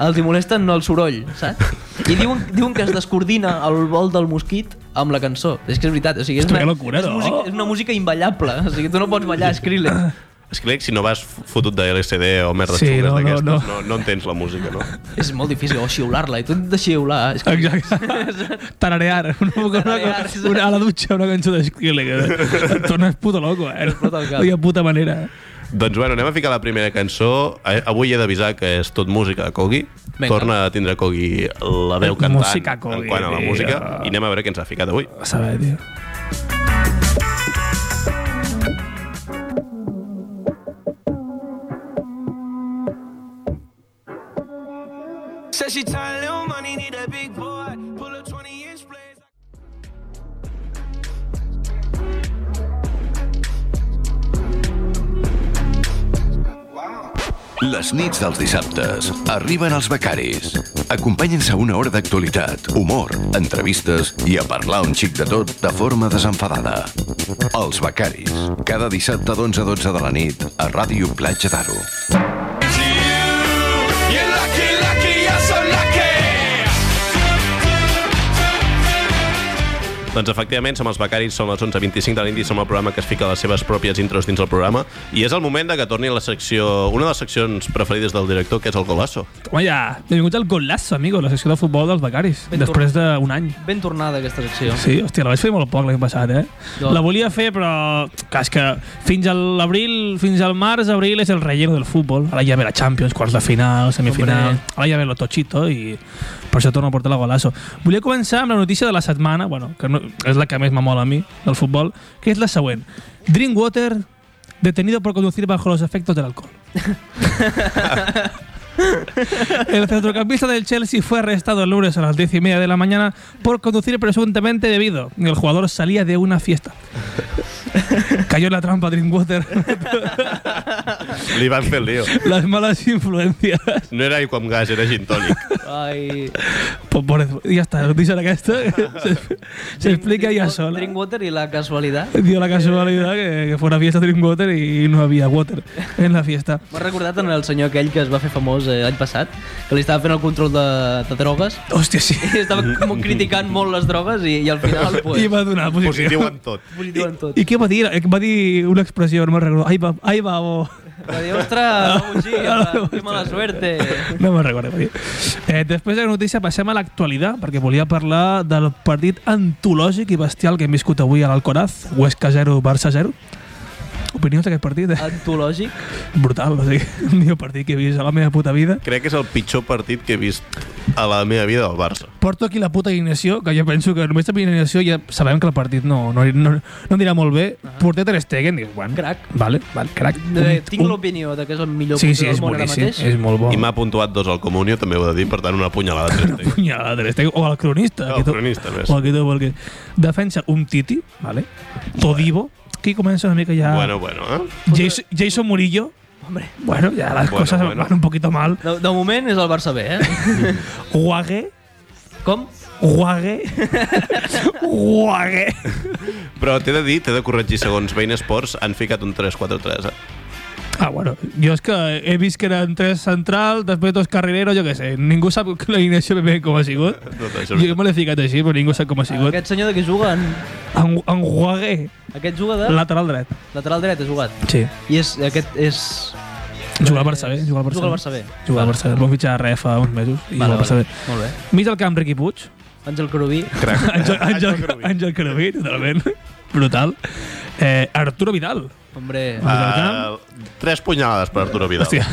[SPEAKER 3] els hi molesten no el soroll, saps? I diuen, diuen que es descoordina el vol del mosquit amb la cançó. És que és veritat, o sigui, és
[SPEAKER 2] Hòstia,
[SPEAKER 3] una,
[SPEAKER 2] que locura,
[SPEAKER 3] és,
[SPEAKER 2] no?
[SPEAKER 3] música, és una música imballable, o sigui, tu no pots ballar, Skrillex.
[SPEAKER 1] És que crec que si no vas fotut de LSD o merdes
[SPEAKER 2] Sí,
[SPEAKER 1] sí,
[SPEAKER 2] no,
[SPEAKER 1] xules
[SPEAKER 2] no,
[SPEAKER 1] d'aquestes, no, no.
[SPEAKER 2] no.
[SPEAKER 1] No, entens la música, no?
[SPEAKER 3] És molt difícil, o xiular-la, i tu hem de xiular. És que...
[SPEAKER 2] Exacte. Tararear. Una, una, una,
[SPEAKER 3] Tararear, sí.
[SPEAKER 2] una, a la dutxa una cançó de Skrillex. que Et tornes puto loco, eh?
[SPEAKER 3] Explota el cap.
[SPEAKER 2] De puta manera. eh.
[SPEAKER 1] Doncs bueno, anem a ficar la primera cançó. Eh, Avui he d'avisar que és tot música de Kogi.
[SPEAKER 3] Vinga.
[SPEAKER 1] Torna a tindre Kogi la veu cantant
[SPEAKER 2] Música Kogi,
[SPEAKER 1] en quant a la
[SPEAKER 2] tio.
[SPEAKER 1] música. I anem a veure què ens ha ficat avui.
[SPEAKER 2] A saber, tio.
[SPEAKER 4] Said she tired, little money, need a big boy. Pull up 20 inch blades.
[SPEAKER 5] Les nits dels dissabtes arriben els becaris. Acompanyen-se a una hora d'actualitat, humor, entrevistes i a parlar un xic de tot de forma desenfadada. Els becaris. Cada dissabte d'11 a 12 de la nit a Ràdio Platja d'Aro.
[SPEAKER 6] You're lucky, lucky, you're so lucky.
[SPEAKER 1] Doncs efectivament, som els becaris, som els 11.25 de la nit i som el programa que es fica les seves pròpies intros dins el programa i és el moment de que torni a la secció, una de les seccions preferides del director, que és el golaço.
[SPEAKER 2] Toma ja, benvinguts al golazo, amigo, la secció de futbol dels becaris,
[SPEAKER 3] Ben
[SPEAKER 2] després d'un any.
[SPEAKER 3] Ben tornada aquesta secció.
[SPEAKER 2] Sí, hòstia, la vaig fer molt poc l'any passat, eh?
[SPEAKER 3] Jo-
[SPEAKER 2] La volia fer, però... Clar, és que fins a l'abril, fins al març, abril és el relleno del futbol. Ara ja ve la Champions, quarts de final, semifinal...
[SPEAKER 3] Hombre.
[SPEAKER 2] Ara ja ve lo tochito i per això torno a portar la golazo. Volia començar amb la notícia de la setmana, bueno, que no, és la que més me mola a mi, del futbol, que és la següent. Drinkwater detenido por conducir bajo los efectos del alcohol. El centrocampista del Chelsea fue arrestado el lunes a las 10 y media de la mañana por conducir presuntamente debido. El jugador salía de una fiesta. Cayó en la trampa Drinkwater.
[SPEAKER 1] Li van fer el lío.
[SPEAKER 2] Las malas influencias.
[SPEAKER 1] No era aigua amb gas, era gin tònic.
[SPEAKER 3] Ai...
[SPEAKER 2] Pues por- ya está, la noticia era que esta se, se explica ya
[SPEAKER 3] Drinkwa-
[SPEAKER 2] sola.
[SPEAKER 3] Drinkwater i la casualitat.
[SPEAKER 2] Dio la casualidad que, que fue una fiesta Drinkwater y no había water en la fiesta.
[SPEAKER 3] M'ha recordat en el senyor aquell que es va fer famós eh, l'any passat, que li estava fent el control de, de drogues
[SPEAKER 2] Hòstia, sí.
[SPEAKER 3] i estava com criticant molt les drogues i, i al final... Pues,
[SPEAKER 2] I va donar posició.
[SPEAKER 1] Positiu en tot.
[SPEAKER 3] positiu en tot.
[SPEAKER 2] I què va dir? Va dir una expressió, no me'n recordo. Ai, va, ai, va, oh. o...
[SPEAKER 3] Va dir, ostres, no, sí,
[SPEAKER 2] No,
[SPEAKER 3] que mala suerte.
[SPEAKER 2] No me'n recordo. tio. Eh, després de la notícia passem a l'actualitat, perquè volia parlar del partit antològic i bestial que hem viscut avui a l'Alcoraz, Huesca 0, Barça 0. Opinions d'aquest partit?
[SPEAKER 3] Ah.
[SPEAKER 2] Eh?
[SPEAKER 3] Antològic.
[SPEAKER 2] Brutal, o sigui, el millor partit que he vist a la meva puta vida.
[SPEAKER 1] Crec que és el pitjor partit que he vist a la meva vida del Barça.
[SPEAKER 2] Porto aquí la puta alineació, que jo penso que només la alineació ja sabem que el partit no, no, no, no anirà molt bé. Uh -huh. Porter Ter Stegen, dic, bueno,
[SPEAKER 3] Crac.
[SPEAKER 2] Vale, vale, crac.
[SPEAKER 3] Eh, tinc l'opinió Ah. de que és el millor
[SPEAKER 2] Sí,
[SPEAKER 3] porter
[SPEAKER 2] sí,
[SPEAKER 3] del
[SPEAKER 2] és
[SPEAKER 3] món ara
[SPEAKER 2] boníssim,
[SPEAKER 3] mateix.
[SPEAKER 2] és molt bo.
[SPEAKER 1] I m'ha puntuat dos al Comunio, també ho he de dir, per tant, una punyalada. Tres,
[SPEAKER 2] punyalada de l'Esteg, o al cronista.
[SPEAKER 1] Al
[SPEAKER 2] que tu-
[SPEAKER 1] cronista, ves.
[SPEAKER 2] O al que tu vulguis. Defensa un Titi, vale? Todivo, que comença una mica ja...
[SPEAKER 1] Bueno, bueno, eh?
[SPEAKER 2] Jason, Jason Murillo,
[SPEAKER 3] Hombre,
[SPEAKER 2] bueno, ya las
[SPEAKER 1] Bueno,
[SPEAKER 2] cosas
[SPEAKER 1] bueno.
[SPEAKER 2] van un poquito mal.
[SPEAKER 3] de, de moment és el Barça B, eh?
[SPEAKER 2] Guague,
[SPEAKER 3] Com?
[SPEAKER 2] Guague, Guague.
[SPEAKER 1] Però t'he de dir, t'he de corregir, segons Bain Sports han ficat un 3-4-3, eh?
[SPEAKER 2] Ah, bueno, jo és que he vist que eren tres centrals, després dos carrileros, jo què sé, ningú sap que l'alineació ben bé com ha sigut.
[SPEAKER 1] Tot això és
[SPEAKER 2] Jo me l'he ficat així, però ningú sap com ha sigut.
[SPEAKER 3] Aquest senyor de què juga? En,
[SPEAKER 2] En, en Guague,
[SPEAKER 3] aquest juga de...
[SPEAKER 2] lateral dret.
[SPEAKER 3] Lateral dret ha jugat.
[SPEAKER 2] Sí.
[SPEAKER 3] I és, aquest és...
[SPEAKER 2] Jugar al Barça bé, jugar al Barça
[SPEAKER 3] Juga
[SPEAKER 2] bé.
[SPEAKER 3] al Barça B.
[SPEAKER 2] Jugar al Barça, el vam fitxar a Ref fa uns mesos i
[SPEAKER 3] Vale,
[SPEAKER 2] vale, va passar
[SPEAKER 3] vale.
[SPEAKER 2] bé.
[SPEAKER 3] Molt bé.
[SPEAKER 2] Mig del camp, Riqui Puig.
[SPEAKER 3] Àngel Corubí.
[SPEAKER 2] Àngel, Àngel, Àngel Carabí, totalment. Brutal. Eh, Arturo Vidal.
[SPEAKER 3] Hombre,
[SPEAKER 1] Ah, tres punyalades per Arturo Vidal.
[SPEAKER 2] Hòstia,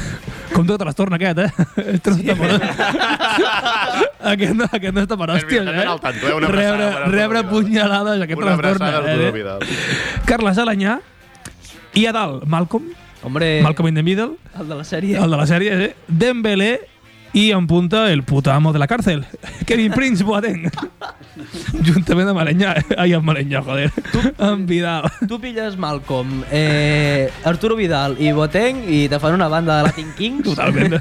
[SPEAKER 2] com tot trastorn aquest, eh? Este no està per... aquest, no, aquest no està per hòsties,
[SPEAKER 1] veritat,
[SPEAKER 2] eh?
[SPEAKER 1] era al tanto, eh? Una abraçada per
[SPEAKER 2] rebre,
[SPEAKER 1] Arturo
[SPEAKER 2] rebre
[SPEAKER 1] Vidal.
[SPEAKER 2] punyalades, aquest
[SPEAKER 1] Una
[SPEAKER 2] trastorn.
[SPEAKER 1] abraçada a
[SPEAKER 2] eh?
[SPEAKER 1] Arturo Vidal.
[SPEAKER 2] Carles Alanyà. I a dalt, Malcolm.
[SPEAKER 3] hombre,
[SPEAKER 2] Malcolm in the middle.
[SPEAKER 3] el de la sèrie.
[SPEAKER 2] El de la sèrie, eh? Dembélé i en punta el puto amo de la cárcel, Kevin Prince Boateng. Juntament amb Malenyà. Ai, amb Malenyà, joder. Amb Vidal.
[SPEAKER 3] Tu pilles Malcolm, eh, Arturo Vidal i Boateng i te fan una banda de Latin Kings.
[SPEAKER 2] Totalment.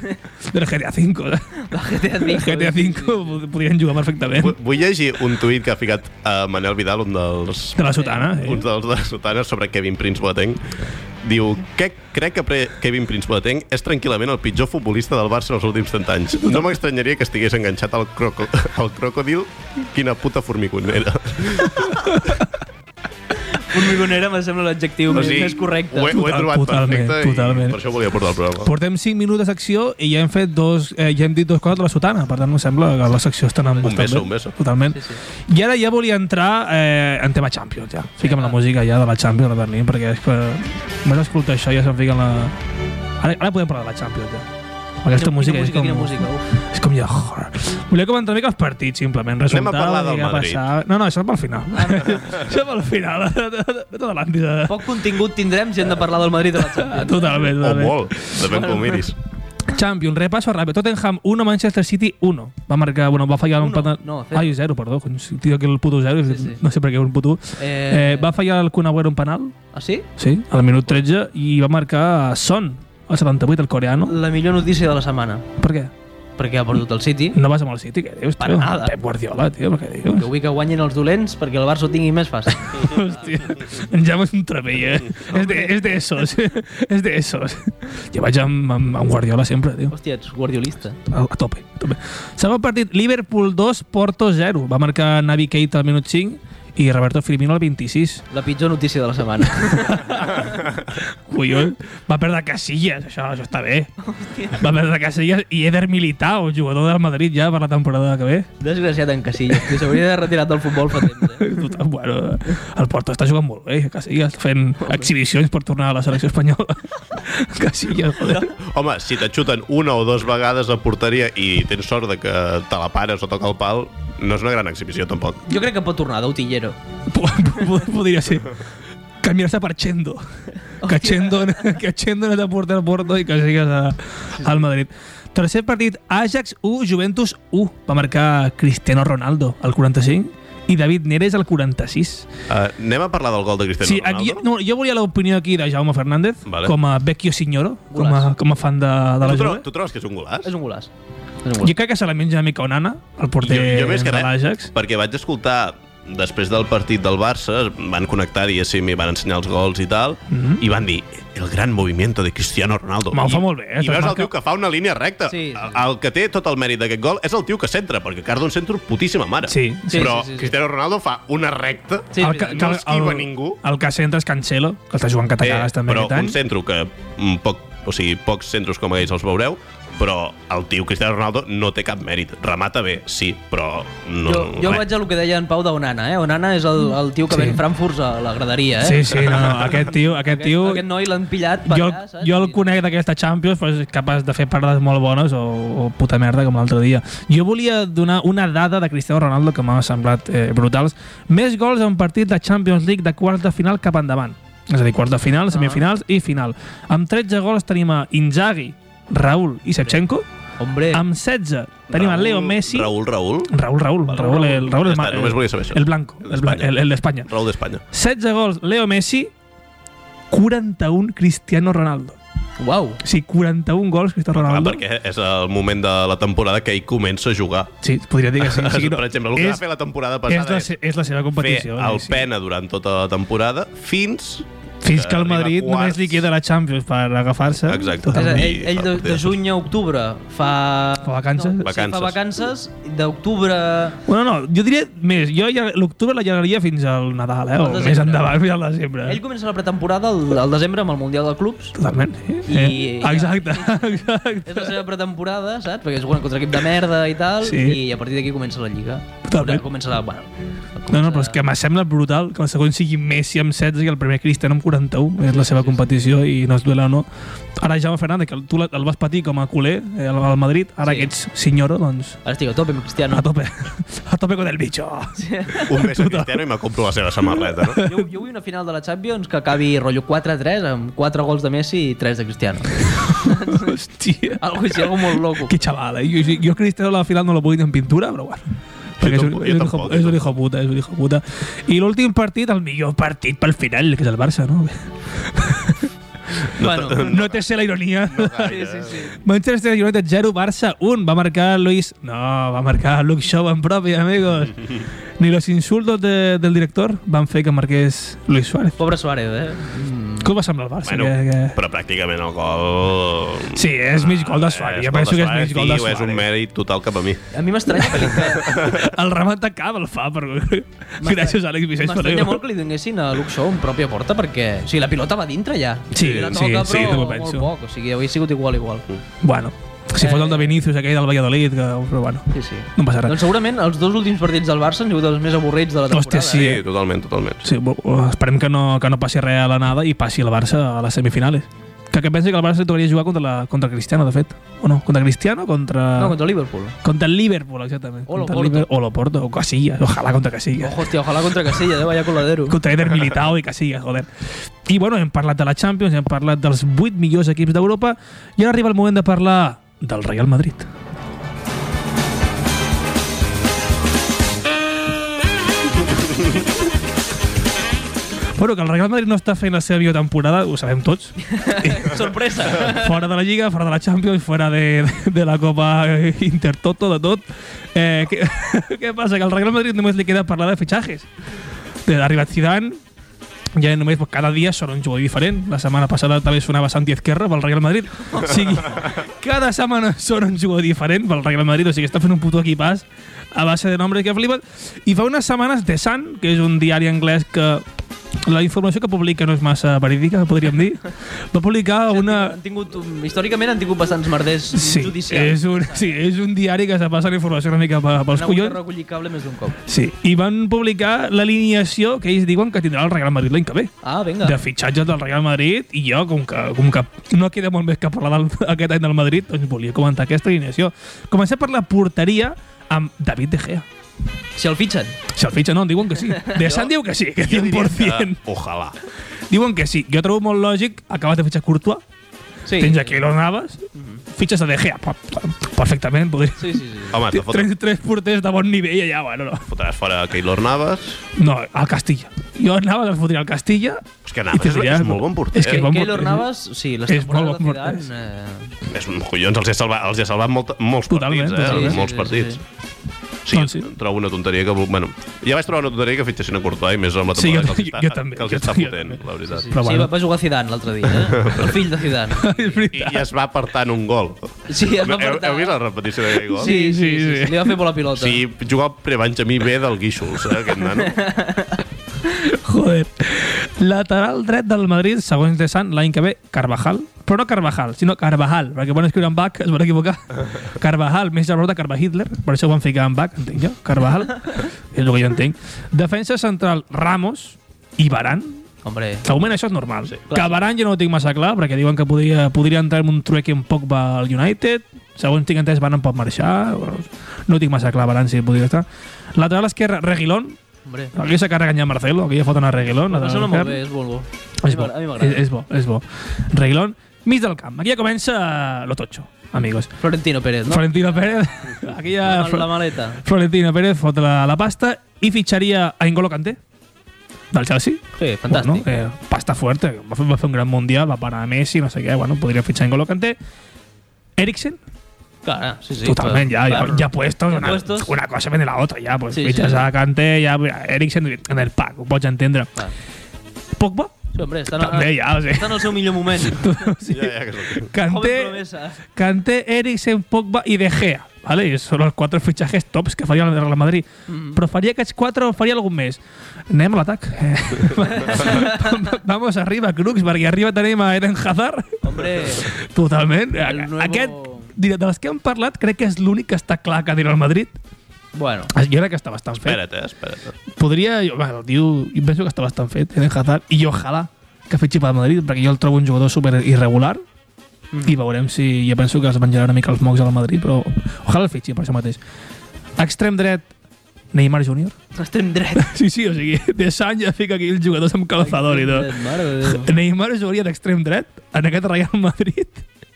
[SPEAKER 2] Del GTA V. eh?
[SPEAKER 3] La GTA V.
[SPEAKER 2] Del GTA V pod- podrien jugar perfectament.
[SPEAKER 1] Vu- Vull llegir un tuit que ha ficat a Manel Vidal, un dels
[SPEAKER 2] De la sotana.
[SPEAKER 1] un
[SPEAKER 2] Eh?
[SPEAKER 1] dels de les sotanes sobre Kevin Prince Boateng. Diu, que crec que pre Kevin Prince Boateng és tranquil·lament el pitjor futbolista del Barça en els últims 30 anys. No m'estranyaria que estigués enganxat al, croco al crocodil. Quina puta formiconera.
[SPEAKER 3] Formigonera me sembla l'adjectiu més, més correcte.
[SPEAKER 1] Ho he, ho he
[SPEAKER 2] Total-
[SPEAKER 1] trobat
[SPEAKER 2] totalment,
[SPEAKER 1] perfecte
[SPEAKER 2] totalment.
[SPEAKER 1] i per això ho volia portar al programa.
[SPEAKER 2] Portem 5 minuts d'acció i ja hem fet dos, eh, ja hem dit dos coses de la sotana, per tant em sembla que la secció està anant
[SPEAKER 1] Un
[SPEAKER 2] bastant
[SPEAKER 1] beso,
[SPEAKER 2] bé.
[SPEAKER 1] un beso.
[SPEAKER 2] Totalment. Sí, sí. I ara ja volia entrar eh, en tema Champions, ja. Fiquem la música ja de la Champions de Berlín, perquè és que més escoltar això ja se'm fica en la... Ara, ara podem parlar de la Champions, ja. Amb Aquesta
[SPEAKER 3] Quina
[SPEAKER 2] música,
[SPEAKER 3] música,
[SPEAKER 2] és
[SPEAKER 3] quina
[SPEAKER 2] com...
[SPEAKER 3] música. Uf.
[SPEAKER 2] És com ja... Volia comentar una mica els partits, simplement. Resultava,
[SPEAKER 1] parlar del
[SPEAKER 2] què
[SPEAKER 1] Madrid.
[SPEAKER 2] passava. No, Ah, no, això és pel final. això és pel final. No t'adelantis. eh?
[SPEAKER 3] Poc contingut tindrem si hem de parlar del Madrid de la Champions.
[SPEAKER 2] Totalment,
[SPEAKER 1] O
[SPEAKER 2] totalment.
[SPEAKER 1] molt, depèn com ho miris.
[SPEAKER 2] Champions, repaso ràpid. Tottenham 1, Manchester City 1. Va marcar, bueno, va fallar un
[SPEAKER 3] Uno,
[SPEAKER 2] penal.
[SPEAKER 3] no, cero.
[SPEAKER 2] Ai, 0, perdó. Cony, si Tio, que el puto 0,
[SPEAKER 3] Sí, sí.
[SPEAKER 2] no sé per què un puto. Eh...
[SPEAKER 3] Eh,
[SPEAKER 2] eh va fallar el Kun Agüero un penal,
[SPEAKER 3] Ah, sí?
[SPEAKER 2] sí, al minut 13, i va marcar Son, el 78, el coreano.
[SPEAKER 3] La millor notícia de la setmana,
[SPEAKER 2] Per què?
[SPEAKER 3] perquè ha perdut el City.
[SPEAKER 2] No vas amb el City, què dius,
[SPEAKER 3] Per
[SPEAKER 2] tio?
[SPEAKER 3] nada.
[SPEAKER 2] Pep Guardiola, tio, per què dius?
[SPEAKER 3] Que vull que guanyin els dolents perquè el Barça ho tingui més fàcil.
[SPEAKER 2] Hòstia, en Jaume és un trapella, eh? és, de, és de esos, és de esos. Jo vaig amb, amb, amb Guardiola sempre, tio.
[SPEAKER 3] Hòstia, ets guardiolista.
[SPEAKER 2] A, a tope, a tope. Segon partit, Liverpool 2, Porto 0. Va marcar Navi Keita al minut 5 i Roberto Firmino al 26.
[SPEAKER 3] La pitjor notícia de la setmana.
[SPEAKER 2] Collons, va perdre Casillas, això, això està bé. Va perdre Casillas i Eder Militao, jugador del Madrid ja per la temporada que ve.
[SPEAKER 3] Desgraciat en Casillas, que s'hauria de retirar del futbol fa temps, eh?
[SPEAKER 2] Total, bueno, el Porto està jugant molt bé, Casillas, fent exhibicions per tornar a la selecció espanyola. Casillas, joder.
[SPEAKER 1] Home, si t'aixuten una o dues vegades a porteria i tens sort de que te la pares o toca el pal, no és una gran exhibició, tampoc.
[SPEAKER 3] Jo crec que pot tornar d'utillero.
[SPEAKER 2] Pod- Podria ser. Canviar-se per Chendo. Que Chendo, que Chendo no t'aporta al Porto i que sigues a, al Madrid. Tercer partit, Ajax 1, Juventus 1. Va marcar Cristiano Ronaldo al 45 i David Neres al 46.
[SPEAKER 1] Uh, anem a parlar del gol de Cristiano
[SPEAKER 2] Sí, aquí,
[SPEAKER 1] Ronaldo?
[SPEAKER 2] no, jo volia l'opinió aquí de Jaume Fernández,
[SPEAKER 1] Vale.
[SPEAKER 2] com a vecchio signoro, com a,
[SPEAKER 3] Golaç.
[SPEAKER 2] com a fan de, de la
[SPEAKER 1] tu, tro
[SPEAKER 2] Juve.
[SPEAKER 1] tu trobes que és un golaç?
[SPEAKER 3] És un golaç. És un
[SPEAKER 2] Jo
[SPEAKER 3] golaç.
[SPEAKER 2] crec que se la menja una mica Onana, el porter
[SPEAKER 1] jo més que
[SPEAKER 2] de
[SPEAKER 1] res,
[SPEAKER 2] l'Ajax.
[SPEAKER 1] Perquè vaig escoltar després del partit del Barça, van connectar, diguéssim, i van ensenyar els gols i tal, i van dir, el gran moviment de Cristiano Ronaldo.
[SPEAKER 2] Home, ho
[SPEAKER 1] I-
[SPEAKER 2] Mhm. fa molt bé, eh?
[SPEAKER 1] I veus el
[SPEAKER 2] Marca-
[SPEAKER 1] tio que fa una línia recta.
[SPEAKER 3] Sí, sí.
[SPEAKER 1] El, el que té tot el mèrit d'aquest gol és el tio que centra, perquè Cardo en centra putíssima mare.
[SPEAKER 2] Sí, sí,
[SPEAKER 1] Però
[SPEAKER 3] sí, sí, sí.
[SPEAKER 1] Cristiano Ronaldo fa una recta
[SPEAKER 3] Sí, és
[SPEAKER 2] ca-
[SPEAKER 3] veritat.
[SPEAKER 1] no esquiva ningú.
[SPEAKER 2] El que centra és Cancelo, que està jugant català també
[SPEAKER 1] Eh, però
[SPEAKER 2] aquest any.
[SPEAKER 1] un centro que mm, poc, o sigui, pocs centros com aquells els veureu, però el tio Cristiano Ronaldo no té cap mèrit. Remata bé, sí, però no...
[SPEAKER 3] Jo, jo
[SPEAKER 1] res.
[SPEAKER 3] vaig a lo que deia en Pau d'Onana, eh? Onana és el, el tio que
[SPEAKER 2] Sí.
[SPEAKER 3] sí. ven Frankfurt a la graderia, eh?
[SPEAKER 2] Sí, sí, no, no, aquest tio, aquest
[SPEAKER 3] Aquest,
[SPEAKER 2] tio,
[SPEAKER 3] aquest noi l'han pillat per
[SPEAKER 2] jo,
[SPEAKER 3] allà, saps?
[SPEAKER 2] jo el
[SPEAKER 3] I-
[SPEAKER 2] conec d'aquesta Champions, però és capaç de fer parades molt bones o, o puta merda com l'altre dia. Jo volia donar una dada de Cristiano Ronaldo que m'ha semblat eh, brutals. Més gols en partit de Champions League de quarts de final cap endavant. És a dir, quarts de final, semifinals
[SPEAKER 3] Ah.
[SPEAKER 2] i final. Amb 13 gols tenim a Inzaghi, Raúl i Shevchenko.
[SPEAKER 3] Hombre,
[SPEAKER 2] Amb 16 tenim a Leo Messi.
[SPEAKER 1] Raúl, Raúl.
[SPEAKER 2] Raúl, Raúl, el Raúl, el Raúl
[SPEAKER 1] Ja
[SPEAKER 2] és ma-
[SPEAKER 1] està, només volia saber això.
[SPEAKER 2] El blanco,
[SPEAKER 1] El
[SPEAKER 2] el bla-
[SPEAKER 1] d'Espanya.
[SPEAKER 2] el el d'Espanya.
[SPEAKER 1] Raúl d'Espanya.
[SPEAKER 2] 16 gols, Leo Messi, 41 Cristiano Ronaldo.
[SPEAKER 3] uau.
[SPEAKER 2] O sigui, 41 gols Cristiano
[SPEAKER 1] Clar,
[SPEAKER 2] Ronaldo.
[SPEAKER 1] perquè és el moment de la temporada que ell comença a jugar.
[SPEAKER 2] Sí, podria dir que sí. O sigui, no,
[SPEAKER 1] per exemple, el que
[SPEAKER 2] és,
[SPEAKER 1] va fer la temporada
[SPEAKER 2] és,
[SPEAKER 1] passada
[SPEAKER 2] la,
[SPEAKER 1] és,
[SPEAKER 2] se- és la seva
[SPEAKER 1] fer
[SPEAKER 2] competició. eh,
[SPEAKER 1] el
[SPEAKER 2] sí.
[SPEAKER 1] pena durant tota la temporada fins...
[SPEAKER 2] Fins que el
[SPEAKER 1] arriba a
[SPEAKER 2] Madrid
[SPEAKER 1] quarts.
[SPEAKER 2] només li queda la Champions per agafar-se.
[SPEAKER 1] Exacte.
[SPEAKER 3] És a dir,
[SPEAKER 2] Totalment.
[SPEAKER 3] ell, ell de, de juny a octubre fa...
[SPEAKER 2] Fa vacances.
[SPEAKER 3] No, sí,
[SPEAKER 1] Vacances.
[SPEAKER 3] fa vacances. D'octubre...
[SPEAKER 2] Bueno, no, jo diria més. Jo ja, l'octubre la llegaria fins al Nadal, eh? O
[SPEAKER 3] Al desembre.
[SPEAKER 2] més endavant, eh. fins al desembre.
[SPEAKER 3] Ell comença la pretemporada al, al desembre amb el Mundial de Clubs.
[SPEAKER 2] Totalment. Eh?
[SPEAKER 3] I-
[SPEAKER 2] eh? Exacte, exacte.
[SPEAKER 3] És la seva pretemporada, saps? Perquè juguen contra equip de merda i tal,
[SPEAKER 2] Sí.
[SPEAKER 3] i a partir d'aquí comença la Lliga.
[SPEAKER 2] Totalment.
[SPEAKER 3] Comença la... Bueno,
[SPEAKER 2] No, no, però és que em sembla brutal que el segon sigui Messi amb 16 i el primer Cristiano amb 41. És la seva competició i no es duela o no. Ara Jaume Fernández, que tu la- el vas patir com a culer eh, al al Madrid, ara
[SPEAKER 3] Sí.
[SPEAKER 2] que ets senyora, doncs
[SPEAKER 3] Ara estic a tope amb
[SPEAKER 1] Mm.
[SPEAKER 3] Cristiano.
[SPEAKER 2] a tope. A tope con el bicho.
[SPEAKER 1] Un mes
[SPEAKER 2] Tota.
[SPEAKER 1] a Cristiano i me compro la seva samarreta, no?
[SPEAKER 3] Jo, jo vull una final de la Champions que acabi rotllo 4-3 amb 4 gols de Messi i 3 de Cristiano.
[SPEAKER 2] Hòstia.
[SPEAKER 3] Algo així, algo molt loco.
[SPEAKER 2] Que xaval, eh? Jo, jo Cristiano a la final no lo vull ni en pintura, però bueno. Perquè és un,
[SPEAKER 1] tampoc, jo
[SPEAKER 2] és, un hijo,
[SPEAKER 1] tampoc, jo
[SPEAKER 2] és un
[SPEAKER 1] tampoc.
[SPEAKER 2] hijo puta, és un hijo puta. I l'últim partit, el millor partit pel final, que és el Barça, no?
[SPEAKER 3] Bueno,
[SPEAKER 2] No te sé la ironia.
[SPEAKER 3] sí, sí, sí.
[SPEAKER 2] Manchester United 0, Barça 1. Va marcar Luis... No, va marcar Luke Shaw en propi, amigos. Ni los insultos de, del director van fer que marqués Luis Suárez.
[SPEAKER 3] Pobre Suárez, eh? Mm.
[SPEAKER 2] Com va semblar el Barça?
[SPEAKER 1] Bueno,
[SPEAKER 2] que, que...
[SPEAKER 1] però pràcticament el gol...
[SPEAKER 2] Sí, és mig gol
[SPEAKER 1] Ah,
[SPEAKER 2] de
[SPEAKER 1] Eh,
[SPEAKER 2] Suárez. Jo penso que és mig gol de
[SPEAKER 1] tio, És un
[SPEAKER 2] Suárez.
[SPEAKER 1] mèrit total cap a mi.
[SPEAKER 3] A mi m'estranya que li,
[SPEAKER 2] El remat de cap el fa, però... Gràcies, Àlex Vicenç.
[SPEAKER 3] m'estranya
[SPEAKER 2] Ferrer.
[SPEAKER 3] molt que li donessin a Luke Shaw en pròpia porta perquè... O sigui, la pilota va dintre ja.
[SPEAKER 2] Sí,
[SPEAKER 3] la
[SPEAKER 2] sí,
[SPEAKER 3] toca,
[SPEAKER 2] sí,
[SPEAKER 3] però
[SPEAKER 2] també
[SPEAKER 3] molt
[SPEAKER 2] penso.
[SPEAKER 3] poc. O sigui, hauria sigut igual, igual.
[SPEAKER 2] Bueno, si fos el de Vinícius, aquell del Valladolid, que... però bueno,
[SPEAKER 3] Sí, sí.
[SPEAKER 2] no passa
[SPEAKER 3] Eh, Doncs
[SPEAKER 2] res.
[SPEAKER 3] segurament els dos últims partits del Barça han sigut els més avorrits de la temporada. eh?
[SPEAKER 2] Hòstia, sí.
[SPEAKER 1] Sí, totalment, totalment.
[SPEAKER 2] Sí, bo- bo- esperem que no, que no passi res a l'anada i passi el Barça a les semifinales. Que, que pensi que el Barça li tocaria jugar contra, la, contra el Cristiano, de fet. O no? Contra Cristiano o contra...
[SPEAKER 3] Eh? No, contra el Liverpool.
[SPEAKER 2] Contra el Liverpool, exactament.
[SPEAKER 3] O
[SPEAKER 2] contra el
[SPEAKER 3] Loporto.
[SPEAKER 2] Liver- O Loporto, o Casillas. Ojalá contra Casillas.
[SPEAKER 3] Ojo, hòstia, ojalà contra Casella, eh? Vaya coladero.
[SPEAKER 2] Contra Eder Militao i Casillas, joder. I bueno, hem parlat de la Champions, hem parlat dels 8 millors equips d'Europa i ara arriba el moment de parlar del Real Madrid. Bueno, que el Real Madrid no està fent la seva millor temporada, ho sabem tots.
[SPEAKER 3] Sorpresa!
[SPEAKER 2] fora de la Lliga, fora de la Champions, fora de, de la Copa Intertoto, de tot. Eh, què, què passa? Que al Real Madrid només li queda parlar de fitxatges. De l'arribat Zidane, ja només pues, cada dia sona un jugador diferent. La setmana passada també sonava Santi Ezquerra pel Real Madrid. O sigui, cada setmana sona un jugador diferent pel Real Madrid. O sigui, està fent un puto equipàs a base de nombres que flipen. I fa unes setmanes The Sun, que és un diari anglès que la informació que publica no és massa verídica, podríem dir. Va publicar una...
[SPEAKER 3] Han tingut, un- històricament han tingut bastants merders
[SPEAKER 2] Sí,
[SPEAKER 3] judicials.
[SPEAKER 2] és un, sí, és un diari que se passa la informació una mica pe-
[SPEAKER 3] Han
[SPEAKER 2] pels
[SPEAKER 3] hagut de
[SPEAKER 2] collons.
[SPEAKER 3] recollir cable més d'un cop.
[SPEAKER 2] Sí, i van publicar l'alineació que ells diuen que tindrà el Real Madrid l'any que ve.
[SPEAKER 3] Ah, vinga.
[SPEAKER 2] De fitxatges del Real Madrid i jo, com que, com que no queda molt més que parlar del, aquest any del Madrid, doncs volia comentar aquesta alineació. Comencem per la porteria amb David De Gea.
[SPEAKER 3] Si el fitxen.
[SPEAKER 2] Si el fitxa no, diuen que sí. De Sant diu que sí, que 100%.
[SPEAKER 1] Ojalà.
[SPEAKER 2] Diuen que sí. Jo trobo molt lògic, acabes de fitxar Courtois,
[SPEAKER 3] Sí.
[SPEAKER 2] tens aquí los Navas, fitxes a De Gea. Pa- pa- Perfectament, podria,
[SPEAKER 3] Sí, sí, sí.
[SPEAKER 1] Home, te fotre,
[SPEAKER 2] tres, tres porters de bon nivell allà, bueno, no.
[SPEAKER 1] fotràs fora Keylor Navas.
[SPEAKER 2] No, al Castilla. Jo anava a fotria al Castilla.
[SPEAKER 1] És que Navas és, és molt bon porter.
[SPEAKER 2] És que
[SPEAKER 1] eh?
[SPEAKER 2] bon
[SPEAKER 3] Keylor
[SPEAKER 2] porter.
[SPEAKER 3] Navas, sí, les
[SPEAKER 2] és molt
[SPEAKER 3] temporades
[SPEAKER 2] bon
[SPEAKER 3] de
[SPEAKER 2] porter,
[SPEAKER 3] Zidane... Eh,
[SPEAKER 1] És un collons, els he salvat, els he salvat molt, molts
[SPEAKER 2] Totalment,
[SPEAKER 1] partits, eh?
[SPEAKER 2] totalment.
[SPEAKER 1] Molts
[SPEAKER 3] Sí, sí, sí,
[SPEAKER 1] partits.
[SPEAKER 3] sí.
[SPEAKER 1] Sí,
[SPEAKER 2] Doncs sí.
[SPEAKER 1] trobo una tonteria que... vol- Bueno, ja vaig trobar una tonteria que fitxessin a Courtois, i més amb la
[SPEAKER 2] Sí,
[SPEAKER 1] temporada que
[SPEAKER 2] jo-
[SPEAKER 1] els està,
[SPEAKER 2] jo també,
[SPEAKER 1] que els
[SPEAKER 2] jo
[SPEAKER 1] està
[SPEAKER 2] també, jo
[SPEAKER 1] fotent, la veritat.
[SPEAKER 2] Però
[SPEAKER 3] sí,
[SPEAKER 2] bueno.
[SPEAKER 3] va, va jugar Zidane l'altre dia, eh? El fill de Zidane.
[SPEAKER 2] és
[SPEAKER 1] I,
[SPEAKER 2] veritat.
[SPEAKER 1] I es va apartant un gol.
[SPEAKER 3] Sí, es va
[SPEAKER 1] Heu,
[SPEAKER 3] apartar.
[SPEAKER 1] heu vist la repetició d'aquell gol?
[SPEAKER 3] Sí, sí, sí,
[SPEAKER 2] Sí, sí.
[SPEAKER 3] sí, Li va fer volar pilota.
[SPEAKER 1] Sí, jugava Prebenjamí B del Guíxols, eh, aquest nano.
[SPEAKER 2] Joder. Lateral dret del Madrid, segons de Sant, l'any que ve, Carvajal. Però no Carvajal, sinó Carvajal, perquè van escriure en Bach, es van equivocar. Carvajal, més a prop de Carva Hitler, per això ho van ficar en Bach, entenc jo. Carvajal, és el que jo entenc. Defensa central, Ramos i Baran.
[SPEAKER 3] Hombre,
[SPEAKER 2] Augment això és normal. Sí, que
[SPEAKER 3] clar.
[SPEAKER 2] Baran jo no ho tinc massa clar, perquè diuen que podria, podria entrar en un trueque un poc al United, segons tinc entès Baran pot marxar, bueno, no ho tinc massa clar Baran si podria estar. Lateral esquerra, Reguilón,
[SPEAKER 3] hombre.
[SPEAKER 2] aquí se carreguen ja Marcelo, aquí ja foten a Reguilón.
[SPEAKER 3] No,
[SPEAKER 2] lateral
[SPEAKER 3] sona molt
[SPEAKER 2] esquerre.
[SPEAKER 3] bé, és molt bo.
[SPEAKER 2] És bo,
[SPEAKER 3] A mi
[SPEAKER 2] és,
[SPEAKER 3] m'agrada.
[SPEAKER 2] és bo, és bo. Reguilón, mig del camp. Aquí ja comença lo tocho, amigos.
[SPEAKER 3] Florentino Pérez,
[SPEAKER 2] No.
[SPEAKER 3] no?
[SPEAKER 2] Florentino Pérez, aquí ja...
[SPEAKER 3] La, la maleta.
[SPEAKER 2] Florentino Pérez fot la, la pasta i fitxaria a N'Golo Kanté, del Chelsea.
[SPEAKER 3] Sí, fantàstic.
[SPEAKER 2] Bueno, eh, pasta fuerte, que va fer, va fer un gran mundial, va parar a Messi, no sé què, bueno, podria fitxar N'Golo Kanté. Eriksen,
[SPEAKER 3] Clar, sí, sí.
[SPEAKER 2] totalment, ja,
[SPEAKER 3] clar,
[SPEAKER 2] ja,
[SPEAKER 3] clar.
[SPEAKER 2] ja puestos,
[SPEAKER 3] Ja
[SPEAKER 2] una,
[SPEAKER 3] puestos.
[SPEAKER 2] una cosa viene la otra, ja, pues
[SPEAKER 3] Sí, sí,
[SPEAKER 2] fitxes
[SPEAKER 3] sí.
[SPEAKER 2] a Kanté, ja, Eriksen en el pack, ho pots entendre.
[SPEAKER 3] Clar.
[SPEAKER 2] Pogba,
[SPEAKER 3] Sí, hombre, estan,
[SPEAKER 2] també, ja, o sigui,
[SPEAKER 3] estan al seu millor moment.
[SPEAKER 2] sí.
[SPEAKER 1] Ja, ja, que és el que-
[SPEAKER 2] Kanté,
[SPEAKER 3] Joven promesa.
[SPEAKER 2] Kanté, Eriksen, Pogba i De Gea. Vale? I són els quatre fitxatges tops que faria el Real Madrid. Mm. Però faria aquests quatre o faria algun més? Anem a l'atac. Eh. Vamos arriba, Crux, perquè arriba tenim a Eren Hazard.
[SPEAKER 3] Hombre,
[SPEAKER 2] Totalment.
[SPEAKER 3] El
[SPEAKER 2] A-
[SPEAKER 3] nuevo-
[SPEAKER 2] Aquest, de dels que hem parlat, crec que és l'únic que està clar que dirà el Madrid.
[SPEAKER 3] bueno.
[SPEAKER 2] Jo crec que està bastant fet.
[SPEAKER 1] Espera't, eh, espera't.
[SPEAKER 2] Podria... Jo, bueno, diu, jo penso que està bastant fet, Eren Hazard. I ojalà que fitxi pel Madrid, perquè jo el trobo un jugador super irregular, i veurem si... Jo penso que es menjarà una mica els mocs al Madrid, però ojalà el fitxi per això mateix. Extrem dret, Neymar Júnior.
[SPEAKER 3] Estem dret.
[SPEAKER 2] Sí, sí, o sigui, de Sant ja fica aquí els jugadors amb calzador i tot.
[SPEAKER 3] Dret, Mare de Déu.
[SPEAKER 2] Neymar jugaria d'extrem dret en aquest Real Madrid